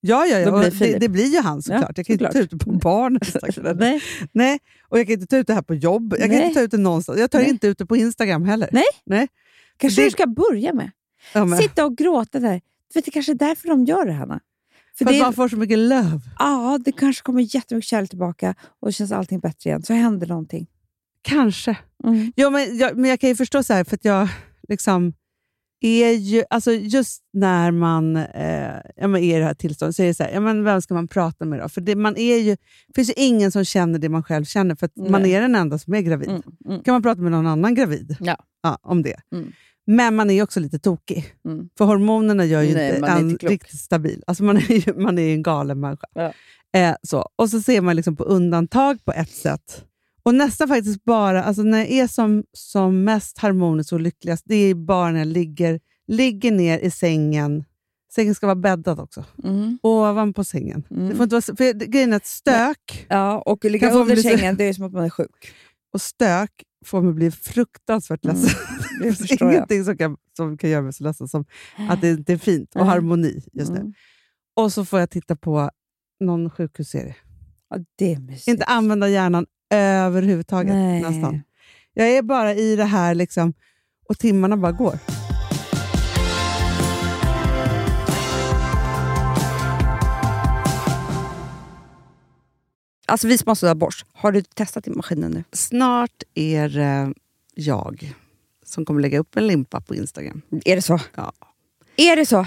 ja, ja, ja,
då
och
blir
det,
Filip.
det blir ju han såklart. jag kan ju inte ta
såklart.
ut det på barnen. stackare.
Nej.
Nej, och jag kan inte ta ut det här på jobb. Jag kan
Nej.
inte ta ut det någonstans. Jag tar
Nej.
inte ut det på Instagram heller.
Nej.
Nej.
Kanske
Det-
du ska börja med.
Ja, men,
Sitta och gråta där. Du vet, det kanske är därför de gör det, Hanna. För
för
det,
att
är,
man får så mycket löv.
ja, det kanske kommer jättemycket kärlek tillbaka och känns allting bättre igen. Så händer någonting.
Kanske.
Mm.
Ja, men, jag, men jag kan ju förstå så här, för att jag liksom är ju, alltså just när man, eh, ja, men är i det här tillståndet så är det så här, ja, men vem ska man prata med då? För det, man är ju, det finns ju ingen som känner det man själv känner, för att man
Nej.
är den enda som är gravid.
Mm, mm.
kan man prata med någon annan gravid
Ja.
om det.
Mm.
Men man är ju också lite tokig,
Mm.
för hormonerna gör ju
Nej,
inte
man är
en
inte klok.
riktigt stabil. Alltså man är ju man är ju en galen människa.
Ja.
Eh, så. Och så ser man liksom på undantag på ett sätt. Och nästan faktiskt bara, alltså när jag är som, som mest harmonisk och lyckligast, det är bara när jag ligger, ligger ner i sängen. Sängen ska vara bäddad också.
Mm.
Ovanpå sängen.
Mm.
Det får inte vara, så- för grejen är att stök
Ja, och ligga
Kan få
under
lite-
sängen, det är som att man är sjuk.
och stök får mig bli fruktansvärt
Mm.
ledsen.
Det
Det finns
förstår jag.
ingenting som kan, som kan göra mig så ledsen som att det inte är fint och
Nej.
harmoni just nu.
Mm.
Och så får jag titta på någon sjukhusserie.
Ja, det är mysigt.
Inte använda hjärnan överhuvudtaget
Nej.
nästan. Jag är bara i det här liksom och timmarna bara går.
Alltså vi som har sådär borst, har du testat i maskinen nu?
Snart är eh, jag som kommer lägga upp en limpa på Instagram.
Är det så?
Ja.
Är det så?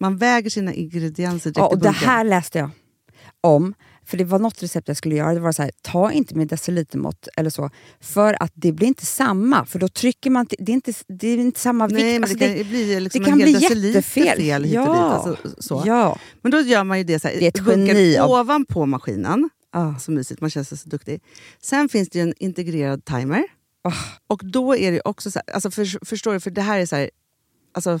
man väger sina ingredienser direkt
Ja, och
i
det
bunken.
här läste jag om. För det var något recept jag skulle göra. Det var så här, ta inte med decilitermått eller så. För att det blir inte samma. För då trycker man... till- Det är inte, det är inte samma
Nej, men
vikt. Alltså,
det kan ju bli liksom
kan
en hel
bli
deciliter
jättefel.
fel hit och dit.
Ja.
Alltså, så.
Ja.
Men då gör man ju det så här,
Det är ett
bunkar
geni av-
ovanpå maskinen.
Ah.
Så mysigt, man känns så duktig. Sen finns det ju en integrerad timer.
Ah.
Och då är det ju också så här, alltså för, förstår du, för det här är så här, alltså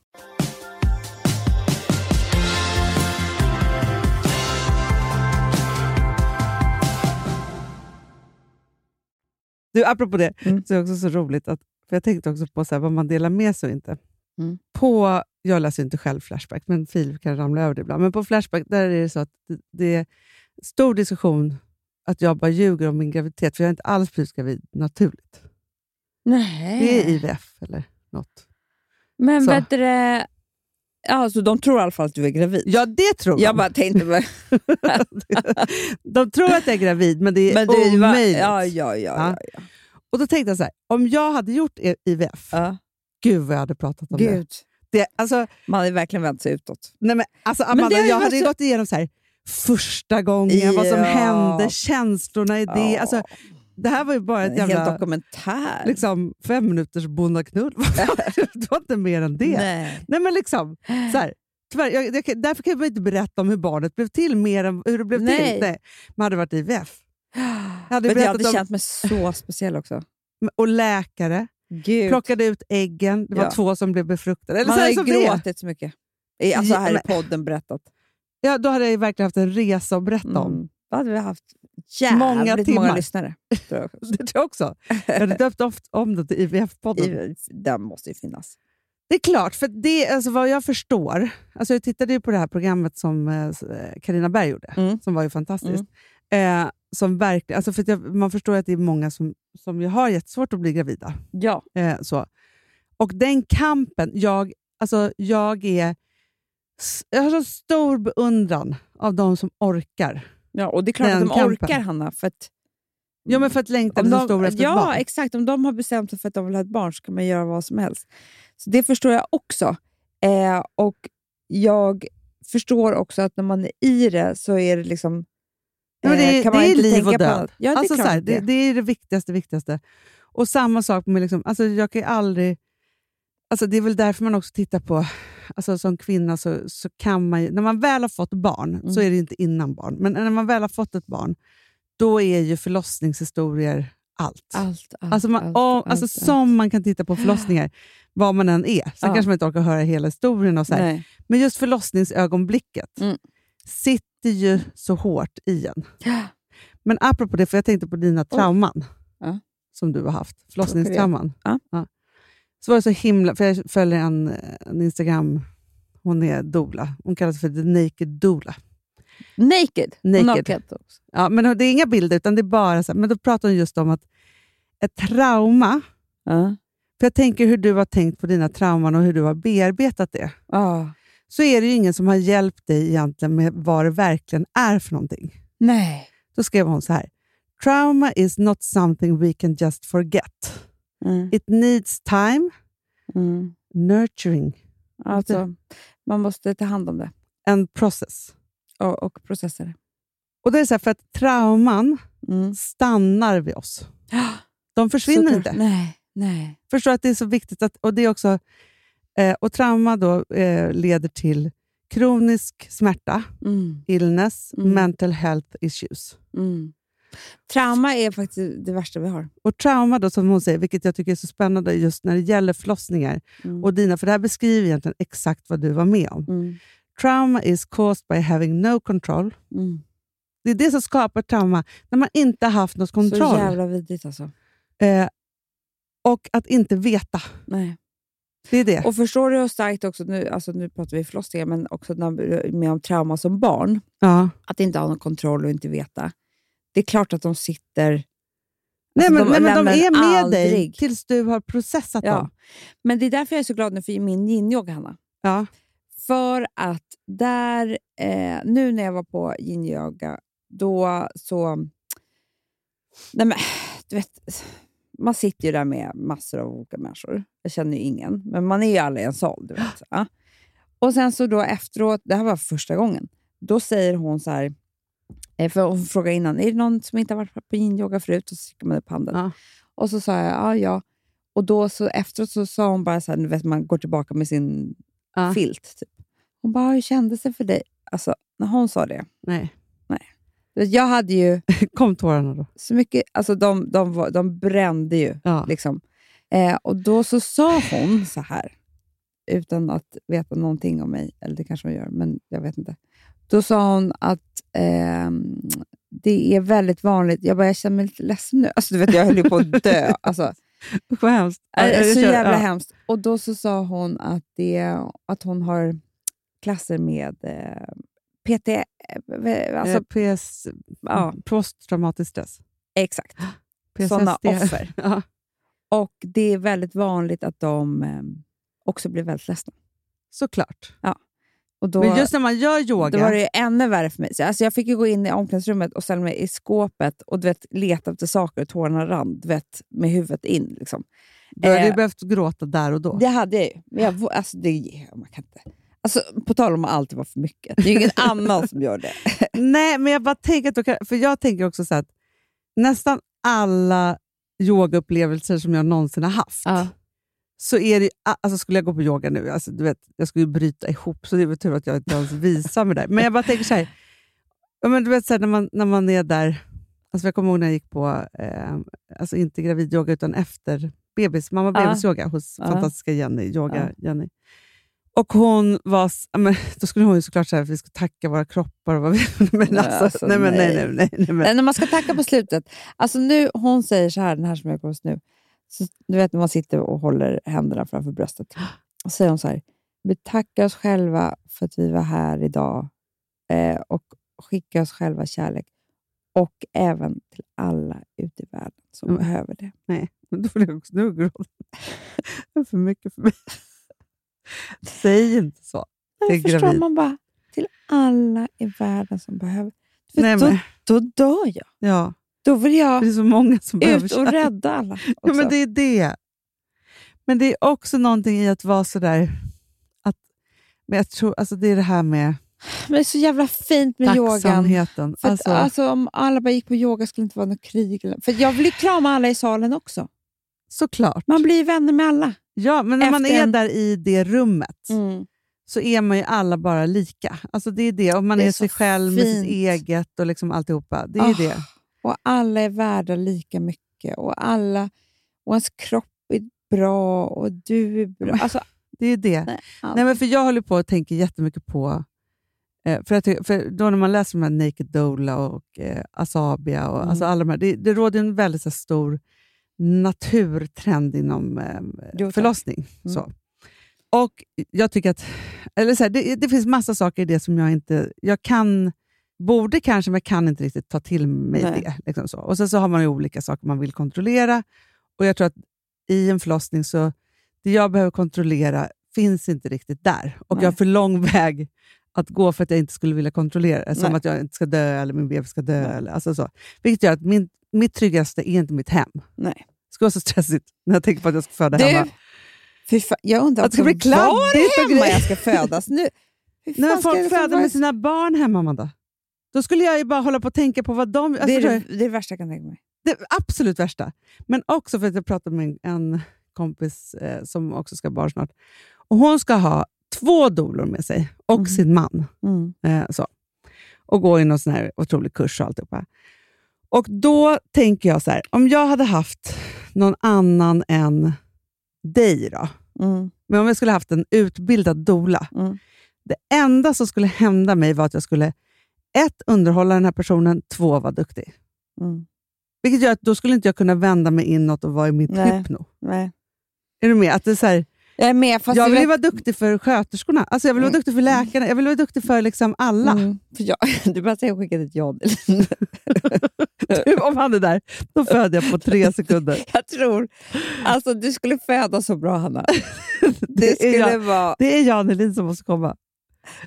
Du, apropå det, så är det också så roligt att för jag tänkte också på så här, vad man delar med sig och inte.
Mm.
På, jag läser ju inte själv Flashback, men Filip kan ramla över det ibland. Men på Flashback där är det så att det, det är stor diskussion att jag bara ljuger om min graviditet, för jag är inte alls blivit gravid naturligt. Det är
Nej.
IVF eller något.
Men
så.
bättre... Ja, så de tror i alla fall att du är gravid.
Ja, det tror
Jag bara tänkte... bara-
De tror att jag är gravid, men det är
Men du var,
omöjligt.
ja, ja, ja, ja.
Och då tänkte jag så här, om jag hade gjort E- IVF,
ja.
gud vad jag hade pratat om det.
Gud.
det alltså,
Man hade verkligen vänt sig utåt.
nej men, alltså
det
Amanda,
har ju
jag
varit
hade ju
så-
gått igenom så här, första gången, vad som
Ja.
hände, känslorna i det.
Ja.
Alltså, det här var ju bara
En
ett
hel
jävla
dokumentär.
liksom, fem minuters bondaknull. det var inte mer än det.
Nej.
Nej, men liksom, så här, tyvärr, jag, jag, kan- därför kan jag inte berätta om hur barnet blev till mer än hur det blev
Nej.
till. Nej, man hade varit IVF. Jag hade
Men jag
berättat
hade
om,
känt mig så speciell också.
och läkare.
Gud.
Plockade ut äggen. Det var
Ja.
två som blev befruktade. Eller
Man
så
har
här
ju
som det är.
gråtit så mycket. I- Alltså
Ja,
här i
men-
podden berättat.
ja, Då hade jag ju verkligen haft en resa att berätta om.
Mm. Då hade vi haft jävligt många,
timmar.
lyssnare. tror jag.
Det tror jag också. Jag hade döpt oft om det till IVF-podden.
I- Den måste ju finnas.
Det är klart, för det, alltså vad jag förstår... Alltså jag tittade ju på det här programmet som eh, Carina Berg gjorde,
Mm.
som var ju fantastiskt. Eh, som verkligen, alltså för att jag, man förstår ju att det är många som, som ju har jättesvårt att bli gravida.
Ja.
Eh, så. Och den kampen, jag, alltså, jag, är, s- jag har så stor beundran av de som orkar.
ja, och det är klart
Den
att de
kampen.
orkar, Hanna. För att
Ja, men för att längtan
om
är så
de,
stor efter
ja,
ett barn.
exakt. Om de har bestämt sig för att de vill ha ett barn så kan man göra vad som helst. Så Det förstår jag också. Eh, och Jag förstår också att när man är i det så är det liksom... eh,
Ja, men det är-
kan man
det är
inte
liv
tänka
och
på
död.
annat. Ja, det
alltså,
är
så
klart
här,
att det
det,
är.
det är det viktigaste, viktigaste. Och samma sak med... Liksom, alltså, jag kan ju aldrig... Alltså, det är väl därför man också tittar på... Alltså, som kvinna så, så kan man ju... När man väl har fått barn, så
Mm.
är det ju inte innan barn, men när man väl har fått ett barn, då är ju förlossningshistorier allt.
Allt, allt,
Alltså, man,
allt,
om,
allt,
alltså
allt.
Som man kan titta på förlossningar, vad man än är. Sen
Ja.
kanske man inte orkar höra hela historien. Och så här.
Nej.
Men just förlossningsögonblicket
Mm.
sitter ju så hårt i en. Men apropå det, för jag tänkte på dina trauman
Ja.
som du har haft. Förlossningstrauman.
Ja.
Så var det så himla... För jag följer en, en Instagram... Hon är doula. Hon kallas för The Naked Doula.
Naked.
Naked.
Naked också.
Ja, men det är inga bilder, utan det är bara så här, Men då pratar hon just om att ett trauma
Ja.
För jag tänker hur du har tänkt på dina trauman och hur du har bearbetat det.
Ah.
Så är det ju ingen som har hjälpt dig egentligen med vad det verkligen är för någonting.
Nej.
Då skrev hon så här. Trauma is not something we can just forget.
Mm.
It needs time,
Mm.
nurturing
Alltså, man måste ta hand om det
and process.
och, och processa det.
Och det är så här, för att trauman
Mm.
stannar vid oss. De försvinner
Såklart.
inte.
Nej, nej.
Förstår att det är så viktigt. Att, och, det är också, eh, och trauma då eh, leder till kronisk smärta,
Mm.
illness,
Mm.
mental health issues.
Mm. Trauma är faktiskt det värsta vi har.
Och trauma då, som hon säger, vilket jag tycker är så spännande just när det gäller förlossningar
Mm.
och dina, för det här beskriver egentligen exakt vad du var med om.
Mm.
Trauma is caused by having no control.
Mm.
Det är det som skapar trauma, när man inte har haft något
Så
kontroll.
jävla vidrigt alltså.
Eh, och att inte veta.
Nej.
Det är det.
Och förstår du hur starkt också, nu, alltså nu pratar vi förlossningar, men också när vi är med om trauma som barn,
ja.
att inte ha någon kontroll och inte veta. Det är klart att de sitter...
nej,
alltså,
men, nej, men de
lämnar
är
en
med dig
aldrig.
tills du har processat
Ja.
dem.
Men det är därför jag är så glad nu för min yin-yoga, Hanna.
Ja.
För att där, eh, nu när jag var på yin-yoga, då så... Nej men, du vet, man sitter ju där med massor av olika människor. Jag känner ju ingen, men man är ju alla i en sal. Du vet. Ja. Och sen så då efteråt, det här var första gången, då säger hon så här, eh, för hon frågade innan, är det någon som inte har varit på yin-yoga förut? Och så sticker man upp handen.
Ja.
Och så sa jag, ja, ja. Och då så efteråt så sa hon bara så här, du vet man går tillbaka med sin
Ja.
filt. Typ. Hon bara, hur kändes det för dig? Alltså, när hon sa det.
Nej.
Du vet, Jag hade ju
Kom tårarna då.
så mycket, alltså de, de, var, de brände ju.
Ja.
Liksom. Eh, och då så sa hon så här, utan att veta någonting om mig, eller det kanske hon gör, men jag vet inte. Då sa hon att ehm, det är väldigt vanligt, jag bara, jag känner mig lite ledsen nu. Alltså du vet, jag höll ju på att dö. Alltså,
Usch, vad hemskt. Ja,
det
jag
är Äh, så
kör-
jävla
ja.
hemskt. Och då så sa hon att, det, att hon har klasser med eh, PT, eh, alltså,
Eh, PS,
ja,
Mm, Posttraumatisk stress.
exakt.
PSSD.
Sådana offer.
Ja.
Och det är väldigt vanligt att de eh, också blir väldigt ledsna.
Såklart.
Och då,
Men just när man gör yoga.
då var det ju ännu värre för mig. Så, alltså, jag fick ju gå in i omklädningsrummet och ställa mig i skåpet och du vet, leta efter saker och tårarna rann du vet, med huvudet in. Liksom.
Du hade ju
Eh,
behövt gråta där och då.
Det hade jag ju. Men jag, vå- alltså, det, man kan inte. Alltså, på tal om att alltid vara för mycket. Det är ju ingen annan som gör det.
Nej, men jag bara tänker att då kan, för jag tänker också så här att nästan alla yogaupplevelser som jag någonsin har haft,
Ja.
så är det ju- a- alltså skulle jag gå på yoga nu, alltså du vet, jag skulle ju bryta ihop, så det är väl tur att jag inte ens visar mig där. Men jag bara tänker så här, ja, men du vet så här när, man, när man är där, alltså jag kommer ihåg när jag gick på, eh, alltså inte gravidyoga utan efter bebis, mamma
Ja.
bebisyoga hos
Ja.
fantastiska Jenny, yoga Jenny. Och hon var, s- ja, men, då skulle hon ju såklart säga att vi skulle tacka våra kroppar. Och vad vi, men
Nej,
alltså,
alltså,
nej, men, nej, nej,
nej.
nej, nej, men.
Nej, Eh, när man ska tacka på slutet. Alltså nu, hon säger så här, den här som jag kommer nu. Så, du vet när man sitter och håller händerna framför bröstet. Och säger hon så här, vi tackar oss själva för att vi var här idag eh, och skickar oss själva kärlek. Och även till alla ute i världen som
Mm.
behöver det.
Men då vill jag också nu gråta. Det är för mycket för mig. Säg inte så. Det är
Men förstår
gravid.
man bara, till alla i världen som behöver. För
Nej,
då,
men,
då dör jag.
ja,
Då vill jag
det är så många som behöver
ut och
kärlek.
rädda alla.
Ja, men
också.
det är det. Men det är också någonting i att vara sådär... Att, men jag tror, alltså det är det här med
Men det är så jävla fint med yogan.
tacksamheten.
För
Alltså,
att, alltså, om alla bara gick på yoga skulle det inte vara något krig. eller- För jag vill ju krama alla i salen också.
såklart.
Man blir ju vänner med alla.
ja, men när man
efter
är
en- Mm.
där i det rummet så är man ju alla bara lika. Alltså det är det. Och man
Det
är,
är
sig
så
själv med sitt
fint.
eget och liksom alltihopa. Det är ju
Ah.
det.
Och alla är värda lika mycket. Och alla och ens kropp är bra och du är bra. Alltså,
Det är det.
nej, allt.
Nej, men för jag håller på och tänker jättemycket på... eh, För, jag tycker, för då när man läser de här Naked Dola och eh, Asabia och alltså
Mm.
alla de här, det, det råder ju en väldigt så här, stor naturtrend inom eh,
Jo, tack.
förlossning.
Mm.
Så. Och jag tycker att... Eller så här, det, det finns massa saker i det som jag inte... Jag kan... Borde kanske, men jag kan inte riktigt ta till mig
Nej.
det. Liksom så. Och Sen så har man ju olika saker man vill kontrollera. Och jag tror att i en förlossning så det jag behöver kontrollera finns inte riktigt där. Och jag har för lång väg att gå för att jag inte skulle vilja kontrollera det. Som
Nej.
att jag inte ska dö eller min bebis ska dö. Eller, alltså så. Vilket gör att min, mitt tryggaste är inte mitt hem.
Nej.
Det ska vara så stressigt när jag tänker på att jag ska föda hemma.
du, fy fan, jag undrar
Att det ska
också
bli
var
kladdigt och
hemma
grejer.
jag ska födas nu. Hur fan ska
Nej, men
jag
folk
liksom
föder
vara-
med sina barn hemma, Amanda. Då skulle jag ju bara hålla på och tänka på vad de... Alltså,
det, är
förstår jag?
det, det är det värsta jag kan tänka mig.
Det absolut värsta. Men också för att jag pratade med en, en kompis eh, som också ska ha barn snart. Och hon ska ha två doulor med sig och
Mhm.
sin man.
Mm.
Eh, så. Och gå i någon sån här otrolig kurs och alltihopa. Och då tänker jag så här, om jag hade haft någon annan än dig då.
Mm.
Men om jag skulle haft en utbildad doula.
Mm.
Det enda som skulle hända mig var att jag skulle ett, underhålla den här personen, två, vara duktig.
Mm.
Vilket gör att då skulle inte jag kunna vända mig inåt och vara i mitt
Nej.
hypno.
Nej.
Är du med? Att det är så här,
Jag är med, fast
jag
det
vill
är
ju vara duktig för sköterskorna, alltså jag vill vara
Mm.
duktig för läkarna, jag vill vara duktig för liksom alla.
Mm. För jag, du bara säger skicka ett ja.
Om han är där, då föder jag på tre sekunder.
Jag tror... Alltså, du skulle föda så bra, Hanna. Det
är
skulle
jag.
vara...
Det är Jan Elin som måste komma.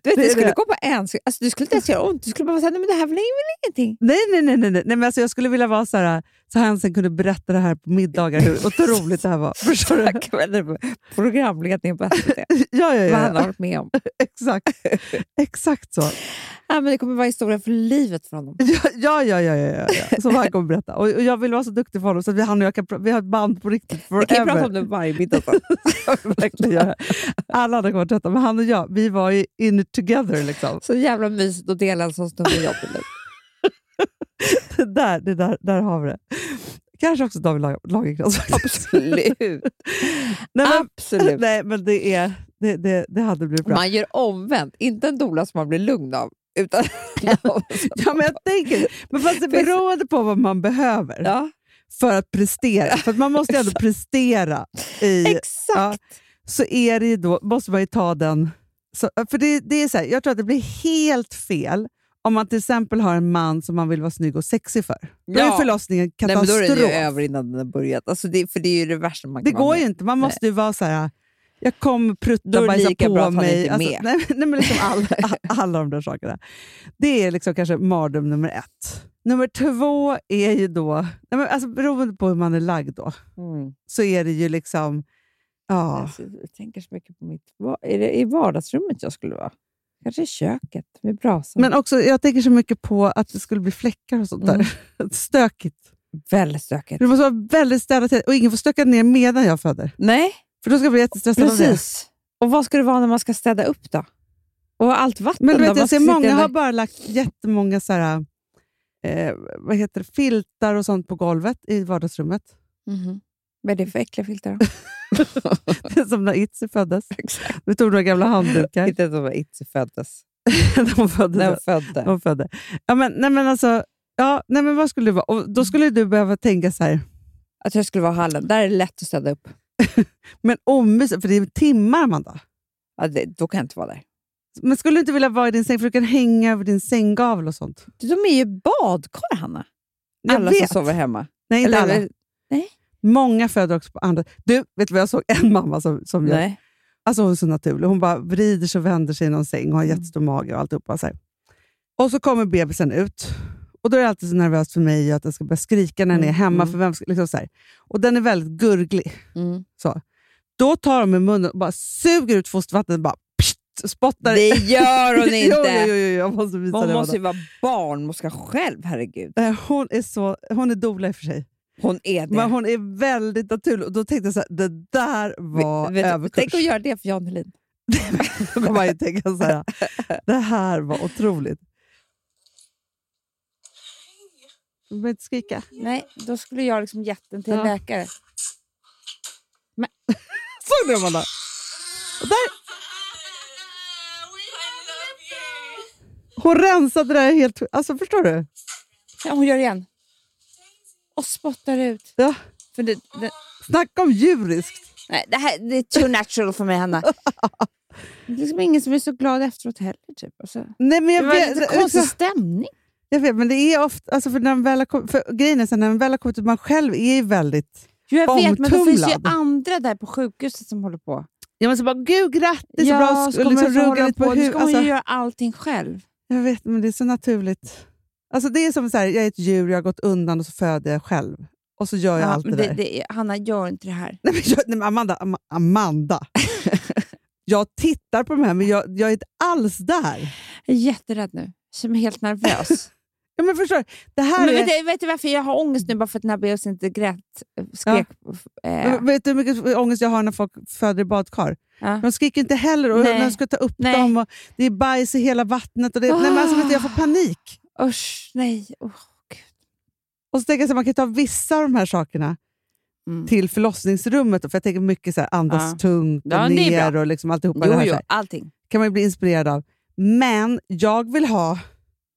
Du, vet,
Det
det
är
skulle
det.
gå på en... Alltså, du skulle inte ens göra ont. Du skulle bara säga nej men det här blir väl ingenting.
Nej, nej, nej. nej, nej. nej men alltså jag skulle vilja vara så här, så han sen kunde berätta det här på middagar, hur otroligt det här var. Förstår du?
Tack för Programledningen på SVT.
Ja, ja,
Vad han har
ja.
varit med om.
Exakt. Exakt så.
Ja, men det kommer vara historia för livet för honom.
Ja, ja, ja, ja, ja, ja. som han kommer berätta. Och, och jag vill vara så duktig för honom så att vi, han och jag kan, pra- vi har ett band på riktigt
Vi kan ju prata
forever.
om det varje middag. sen.
Verkligen göra. Alla andra kommer vara trötta, men han och jag, vi var ju in it together. Liksom.
Så jävla mysigt att dela en sån stund med jobbet nu.
Det där, det där, där har vi det. Kanske också David Lager- Lagercrantz. faktiskt.
Absolut.
Nej, men,
Absolut.
nej, men det, är, det, det, det hade blivit bra.
Man gör omvänt. Inte en dola som man blir lugn av. Utan
Ja, men jag tänker, men fast det beror på vad man behöver
ja,
för att prestera. För att man måste ju ändå prestera. I,
exakt.
ja, så är det ju då, måste man ju ta den... Så, för det, det är så här, Jag tror att det blir helt fel om man till exempel har en man som man vill vara snygg och sexig för. Då är
Ja.
förlossningen
Nej, men
katastrof.
då är den ju över innan den har börjat. Alltså det, för det är ju det värsta man
det
kan vara
går
med
ju
om.
inte. Man måste ju vara så här... Jag kommer
Då
prutta
är det
bajsa
lika
på
bra att han
mig.
inte är
alltså,
med.
nej, nej, men liksom all, all, alla de där sakerna. Det är liksom kanske mardröm nummer ett. Nummer två är ju då... Nej, men alltså, beroende på hur man är lagd då,
Mm.
så är det ju liksom... Ja,
Alltså, jag tänker så mycket på mitt... va- Är det i vardagsrummet jag skulle vara? Kanske i köket med brasan.
Men också, jag tänker så mycket på att det skulle bli fläckar och sånt där.
Mm.
Stökigt.
Väldigt stökigt.
Det måste vara väldigt städat till- och ingen får stöka ner medan jag föder.
Nej,
För då ska jag bli jättestressad av det.
precis. Och vad ska det vara när man ska städa upp då? Och allt vatten
Men
då?
du vet,
Man ska
jag ser
sitta
många
där-
har bara lagt jättemånga så här, eh, vad heter det, filtar och sånt på golvet i vardagsrummet.
Mhm. Vad är det för äckliga filtar?
Som när Itzy föddes. Vi tog några gamla handdukar
Inte ens om Itzy föddes.
när hon
När hon
föddes.
födde.
När hon födde. Ja, men, nej, men alltså, ja, nej, men vad skulle du vara? Och då skulle du behöva tänka så här,
Att jag skulle vara i hallen. Där är det lätt att städa upp.
men omysigt, för det är timmar man då.
Ja, det, då kan jag inte vara där.
Men skulle du inte vilja vara i din säng? För du kan hänga över din sänggavel och sånt.
Du, De är ju badkar, Hanna.
Jag
alla
vet.
som sover hemma.
Nej, inte
Eller-
alla. Många föder också på andra... Du, vet du vad jag såg? En mamma som, som gör...
Nej.
Alltså hon är så naturlig. Hon bara vrider sig och vänder sig i någon säng och har
Mm.
jättestor mage och alltihopa. Så här. Och så kommer bebisen ut. Och då är det alltid så nervöst för mig att jag ska börja skrika när den är
Mm,
hemma. För vem ska, liksom så här. Och den är väldigt gurglig.
Mm.
Så. Då tar de med munnen och bara suger ut fostervattnet och bara pst, spottar
Det gör hon
Jo, jo, jo,
inte.
jo, jag måste visa
Hon
det.
måste ju vara barnmorska själv, herregud.
Eh, Hon är, så, hon är dola i och för sig.
Hon är det.
Men hon är väldigt naturlig. Och då tänkte jag så här, det där var
Vet du,
överkurs.
tänk att göra det för Jan Helin.
Då kommer man ju tänka så här, det här var otroligt. Du behöver inte skrika.
Nej, då skulle jag liksom gett den till en
Ja.
läkare.
Såg du Amanda? Och där, hon rensade det där helt... Alltså förstår du?
Ja, hon gör igen. Och spottar ut.
Ja.
För det, det,
Snacka om djuriskt.
nej, det, här, det är too natural för mig, Hanna. Det är liksom ingen som är så glad efteråt heller. Typ. Alltså,
Nej, men
det
jag
var
vet,
lite
alltså,
konstig stämning.
jag vet, men det är ofta... Alltså för när den väl har kommit, för grejen är så här, när den väl har kommit ut, man själv är ju väldigt...
Jo, jag vet, men det finns ju
Omtumlad.
andra där på sjukhuset som håller på.
Ja, men så bara, gud grattis!
ja,
bra,
så kommer
liksom,
hon
rugga
hålla
lite på
på. Nu
huvudet.
ska hon
Alltså,
ju göra allting själv.
Jag vet, men det är så naturligt. Alltså det är som så här, jag är ett djur, jag har gått undan och så föder jag själv. Och så gör jag allt det,
men
där.
det, det, är- Hanna, gör inte det här.
Nej, men jag, nej, men Amanda, Am- Amanda. jag tittar på de här, men jag, jag är inte alls där.
Jag är jätterädd nu. Jag känner mig helt nervös.
Ja, men förstår, du? det här
men
är,
vet, du, vet du varför jag har ångest nu? Bara för att den här bebisen inte grät, eh, skrek. Eh,
vet du hur mycket ångest jag har när folk föder i badkar?
ja.
De skriker inte heller och
Nej.
när de ska ta upp
Nej.
dem och det är bajs i hela vattnet. Och det, nej, men alltså, vet du, jag får panik.
Usch, nej. Oh, Gud.
Och så tänker jag att man kan ta vissa av de här sakerna
Mm.
till förlossningsrummet. då, För jag tänker mycket så här, andas
Ja.
tungt och
Ja, men det är
ner och liksom alltihopa. det
Jo,
här, så
jo,
här.
allting.
kan man ju bli inspirerad av. Men jag vill ha...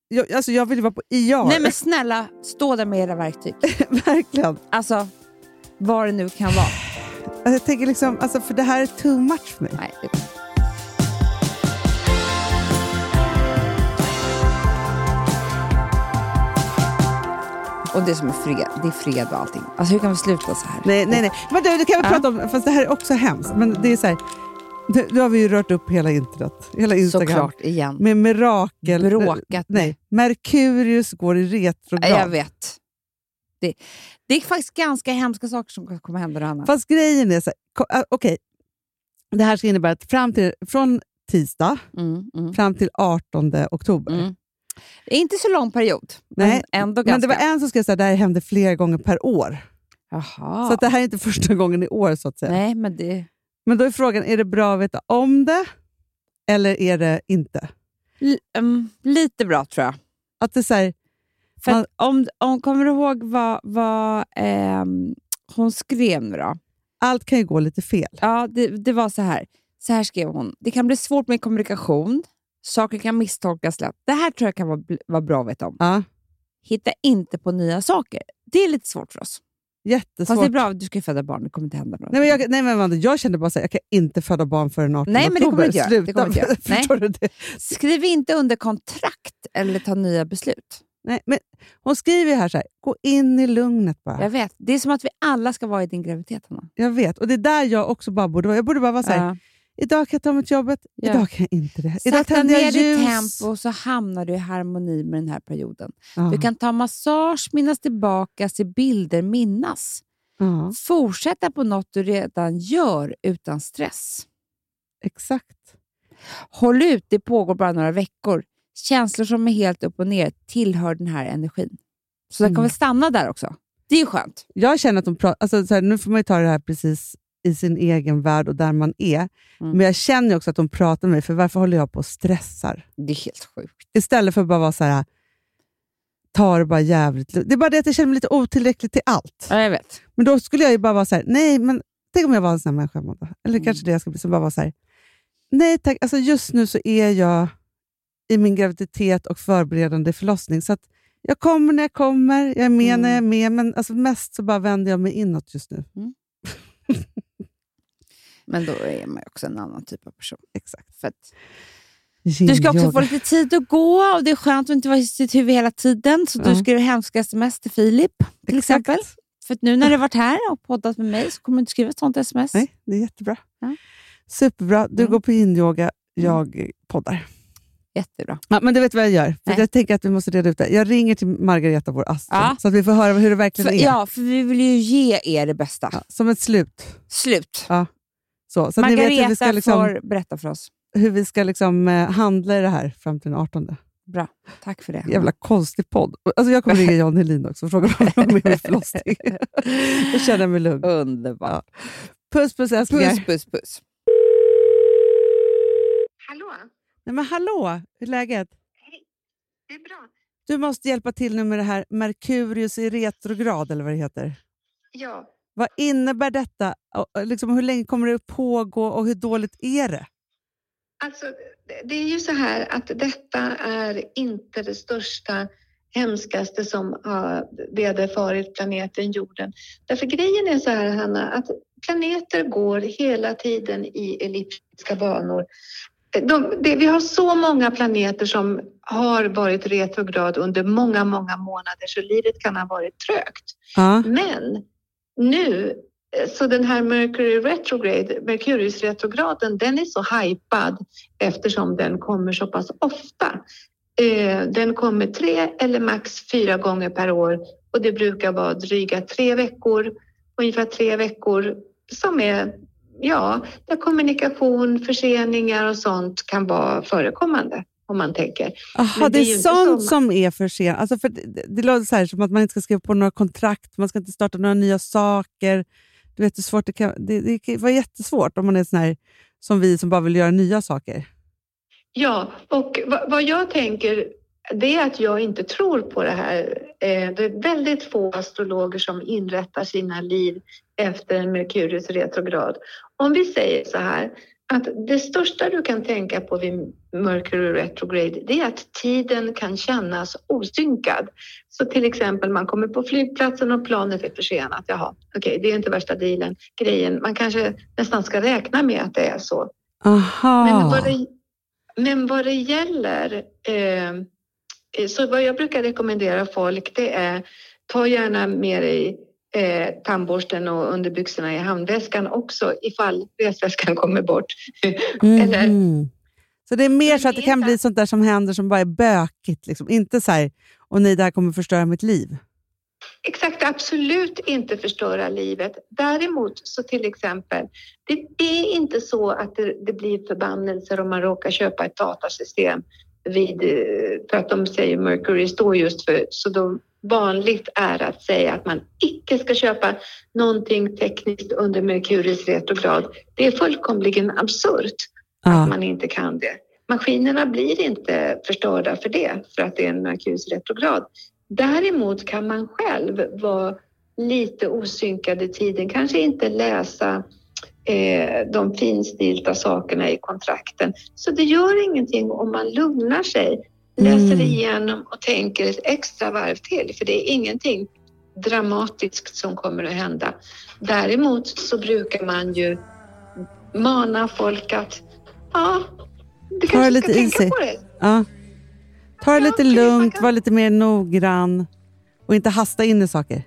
Jag, alltså jag vill ju vara på IR.
Nej men snälla, stå där med era verktyg.
Verkligen.
Alltså, vad det nu kan vara.
Alltså jag tänker liksom, alltså för det här är too much för mig.
Nej, det-
Och det är som är fred, det är fred och allting. Alltså hur kan vi sluta så här?
Nej, nej, nej. Men du, det kan vi prata om, fast det här är också hemskt. Men det är så här, nu, nu har vi ju rört upp hela internet, hela Instagram.
Såklart, igen.
Med mirakel...
Bråkat.
Nej, Merkurius går i retrograd.
Jag vet.
Det, det är faktiskt ganska hemska saker som kan komma hända nu, Anna.
ah, Fast grejen är så här, ko- äh, okej. Det här ska innebära att fram till, från tisdag
Mm, mm,
fram till 18 oktober.
mm.
Det är Inte så lång period,
Nej,
men ändå
Men det
ganska.
var en som skrev att det här hände flera gånger per år.
Jaha.
Så att det här är inte första gången i år. så att säga.
Ah. Nej, men det...
Men då är frågan, är det bra att veta om det eller är det inte?
L- ehm, lite bra tror jag.
Att det är så här,
För
Man-
att om, om, kommer du ihåg vad, vad ehm, hon skrev nu då?
allt kan ju gå lite fel.
Ja, det, det var så här. Så här skrev hon. Det kan bli svårt med kommunikation. Saker kan misstolkas lätt. Det här tror jag kan vara, bl- vara bra att veta om.
Ja,
Hitta inte på nya saker. Det är lite svårt för oss.
jättesvårt.
Fast det är bra, du ska ju föda barn. Det kommer inte hända något.
Nej, men jag, nej, men Amanda, jag kände bara så här, jag kan inte föda barn förrän 18
Nej, men det kommer
oktober.
du inte göra.
Sluta.
Det kommer du inte göra. Nej.
Förstår du det?
Skriv inte under kontrakt eller ta nya beslut.
Nej, men hon skriver ju här så här, gå in i lugnet bara.
Jag
Jag,
vet. Det är som att vi alla ska vara i din graviditet, Hanna.
vet, och det är där jag också bara borde vara. Jag borde bara vara så här,
Ja.
idag kan jag ta mig till jobbet,
Ja.
idag kan jag inte det. Idag
Sakta
tänder
ner
jag
ditt
ljus.
tempo så hamnar du i harmoni med den här perioden.
Ja,
Du kan ta massage, minnas tillbaka, se bilder, minnas.
ja,
Fortsätta på något du redan gör utan stress.
exakt.
Håll ut, det pågår bara några veckor. Känslor som är helt upp och ner tillhör den här energin. Så den
Mm.
kommer stanna där också. Det är ju skönt.
Jag känner att de pratar, alltså, så här, nu får man ju ta det här precis i sin egen värld och där man är.
Mm.
Men jag känner ju också att de pratar med mig, för varför håller jag på och stressar?
Det är helt sjukt.
Istället för att bara vara så här, ta det bara jävligt lugnt. Det är bara det att jag känner mig lite otillräcklig till allt.
Ja, jag vet.
Men då skulle jag ju bara vara så här, nej men tänk om jag var en sån här människa Amanda. Eller
Mm.
kanske det jag ska bli, som bara var så här, nej tack, alltså just nu så är jag i min graviditet och förberedande förlossning. Så att jag kommer när jag kommer, jag är med när jag
Mm.
är med, men alltså mest så bara vänder jag mig inåt just nu.
Men då är man ju också en annan typ av person.
Exakt.
För att du ska också
Yin-yoga.
få lite tid att gå och det är skönt att inte vara i sitt huvud hela tiden. Så
Ja.
du skriver hemska sms till Filip till
Exakt.
exempel. För att nu när du har varit här och poddat med mig så kommer du inte skriva ett sånt sms.
Nej, det är jättebra.
Ja.
Superbra. Du
Mm.
går på yin-yoga, jag eh, poddar.
Jättebra.
Ja, men du vet vad jag gör? För
Nej.
jag tänker att vi måste reda ut det. Jag ringer till Margareta, vår astro,
Ja.
så att vi får höra hur det
För,
verkligen är.
ja, för vi vill ju ge er det bästa.
Ja, som ett slut.
Slut.
Så, så att ni
Margareta
vet hur vi ska, liksom,
får berätta för oss.
hur vi ska liksom, eh, handla i det här fram till den 18.
Bra. Tack för det.
Jävla konstig podd. Och, Alltså, jag kommer ringa Jan Helin också och fråga vad han har med min förlossning. Då känner jag mig lugn.
Underbart.
Puss puss älsklingar.
Puss, puss, puss.
Hallå?
Nej, men hallå, hur är läget?
Det är bra.
Du måste hjälpa till nu med det här Merkurius i retrograd eller vad det heter.
Ja.
Vad innebär detta? Och, och Liksom, hur länge kommer det pågå och hur dåligt är det?
Alltså, det- det är ju så här att detta är inte det största, hemskaste som har vederfarit planeten jorden. Därför grejen är så här, Hanna, att planeter går hela tiden i elliptiska banor. De, det, vi har så många planeter som har varit retrograd under många, många månader så livet kan ha varit trögt.
Ja.
Men nu, eh, så den här Mercury retrograde, Mercurius retrograden, den är så hypad eftersom den kommer så pass ofta. Eh, Den kommer tre eller max fyra gånger per år och det brukar vara dryga tre veckor, ungefär tre veckor som är, ja, där kommunikation, förseningar och sånt kan vara förekommande om man tänker.
Jaha,
Men
det
det är ju
är
inte
sånt
som-
som är för sent. Alltså för det, det- det låter så här, som att man inte ska skriva på några kontrakt, man ska inte starta några nya saker. Du vet hur svårt det kan det, det kan vara jättesvårt om man är sån här som vi som bara vill göra nya saker.
Ja, och va- vad jag tänker det är att jag inte tror på det här. Eh, Det är väldigt få astrologer som inrättar sina liv efter en Merkurius retrograd. Om vi säger så här, att det största du kan tänka på vid Mercury retrograde, det är att tiden kan kännas osynkad. Så till exempel man kommer på flygplatsen och planet är försenat. Jaha, okej, det är inte värsta dealen, grejen. Man kanske nästan ska räkna med att det är så.
Aha.
Men vad det, men vad det gäller, eh, eh, så vad jag brukar rekommendera folk det är ta gärna med dig eh, tandborsten och underbyxorna i handväskan också ifall resväskan kommer bort. eller-
Mhm. Så det är mer
Men
så att det
det
kan
är-
bli sånt där som händer som bara är bökigt. Liksom. Inte så här, åh nej, det här kommer förstöra mitt liv.
Exakt, absolut inte förstöra livet. Däremot så till exempel, det, det är inte så att det, det blir förbannelser om man råkar köpa ett datasystem vid, eh, för att de säger Mercury står just för, så då vanligt är att säga att man icke ska köpa någonting tekniskt under Mercuris retrograd. Det är fullkomligen absurt att
Ja.
man inte kan det. Maskinerna blir inte förstörda för det, för att det är en Merkurius retrograd. Däremot kan man själv vara lite osynkad i tiden, kanske inte läsa eh, de finstilta sakerna i kontrakten. Så det gör ingenting om man lugnar sig, läser
Mm.
igenom och tänker ett extra varv till, för det är ingenting dramatiskt som kommer att hända. Däremot så brukar man ju mana folk att ja, du
Ta det
kanske
lite
ska tänka
easy.
på det.
Ja. Ta det
Ja,
lite
okej, man
lugnt,
kan-
var lite mer noggrann och inte hasta in i saker.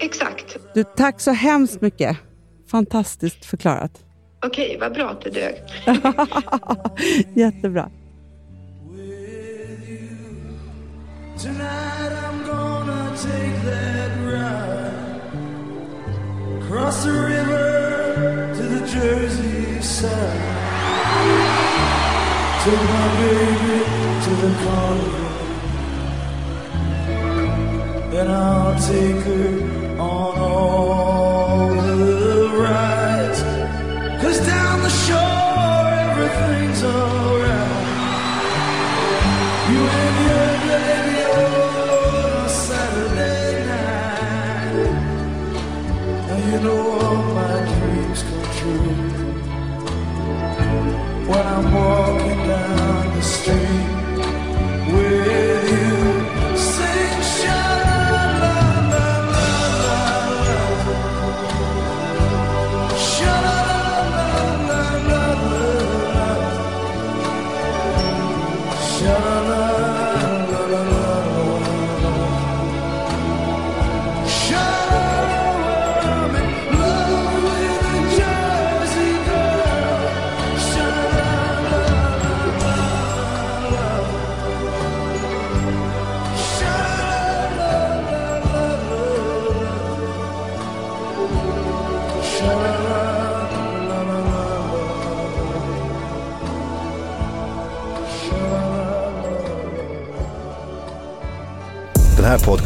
Exakt.
Du, tack så hemskt mycket. Fantastiskt förklarat.
Okej, vad bra att det dög.
Jättebra.
Tonight I'm gonna take that ride across the river to the Jersey side. Take my baby to the carnival, then I'll take her on all the rides. Cause down the shore everything's alright. You and your baby on a Saturday night. Now you know all my dreams come true. When I'm walking down the street with you, sing sha la la la la la. Sha la la la la la la.
Den här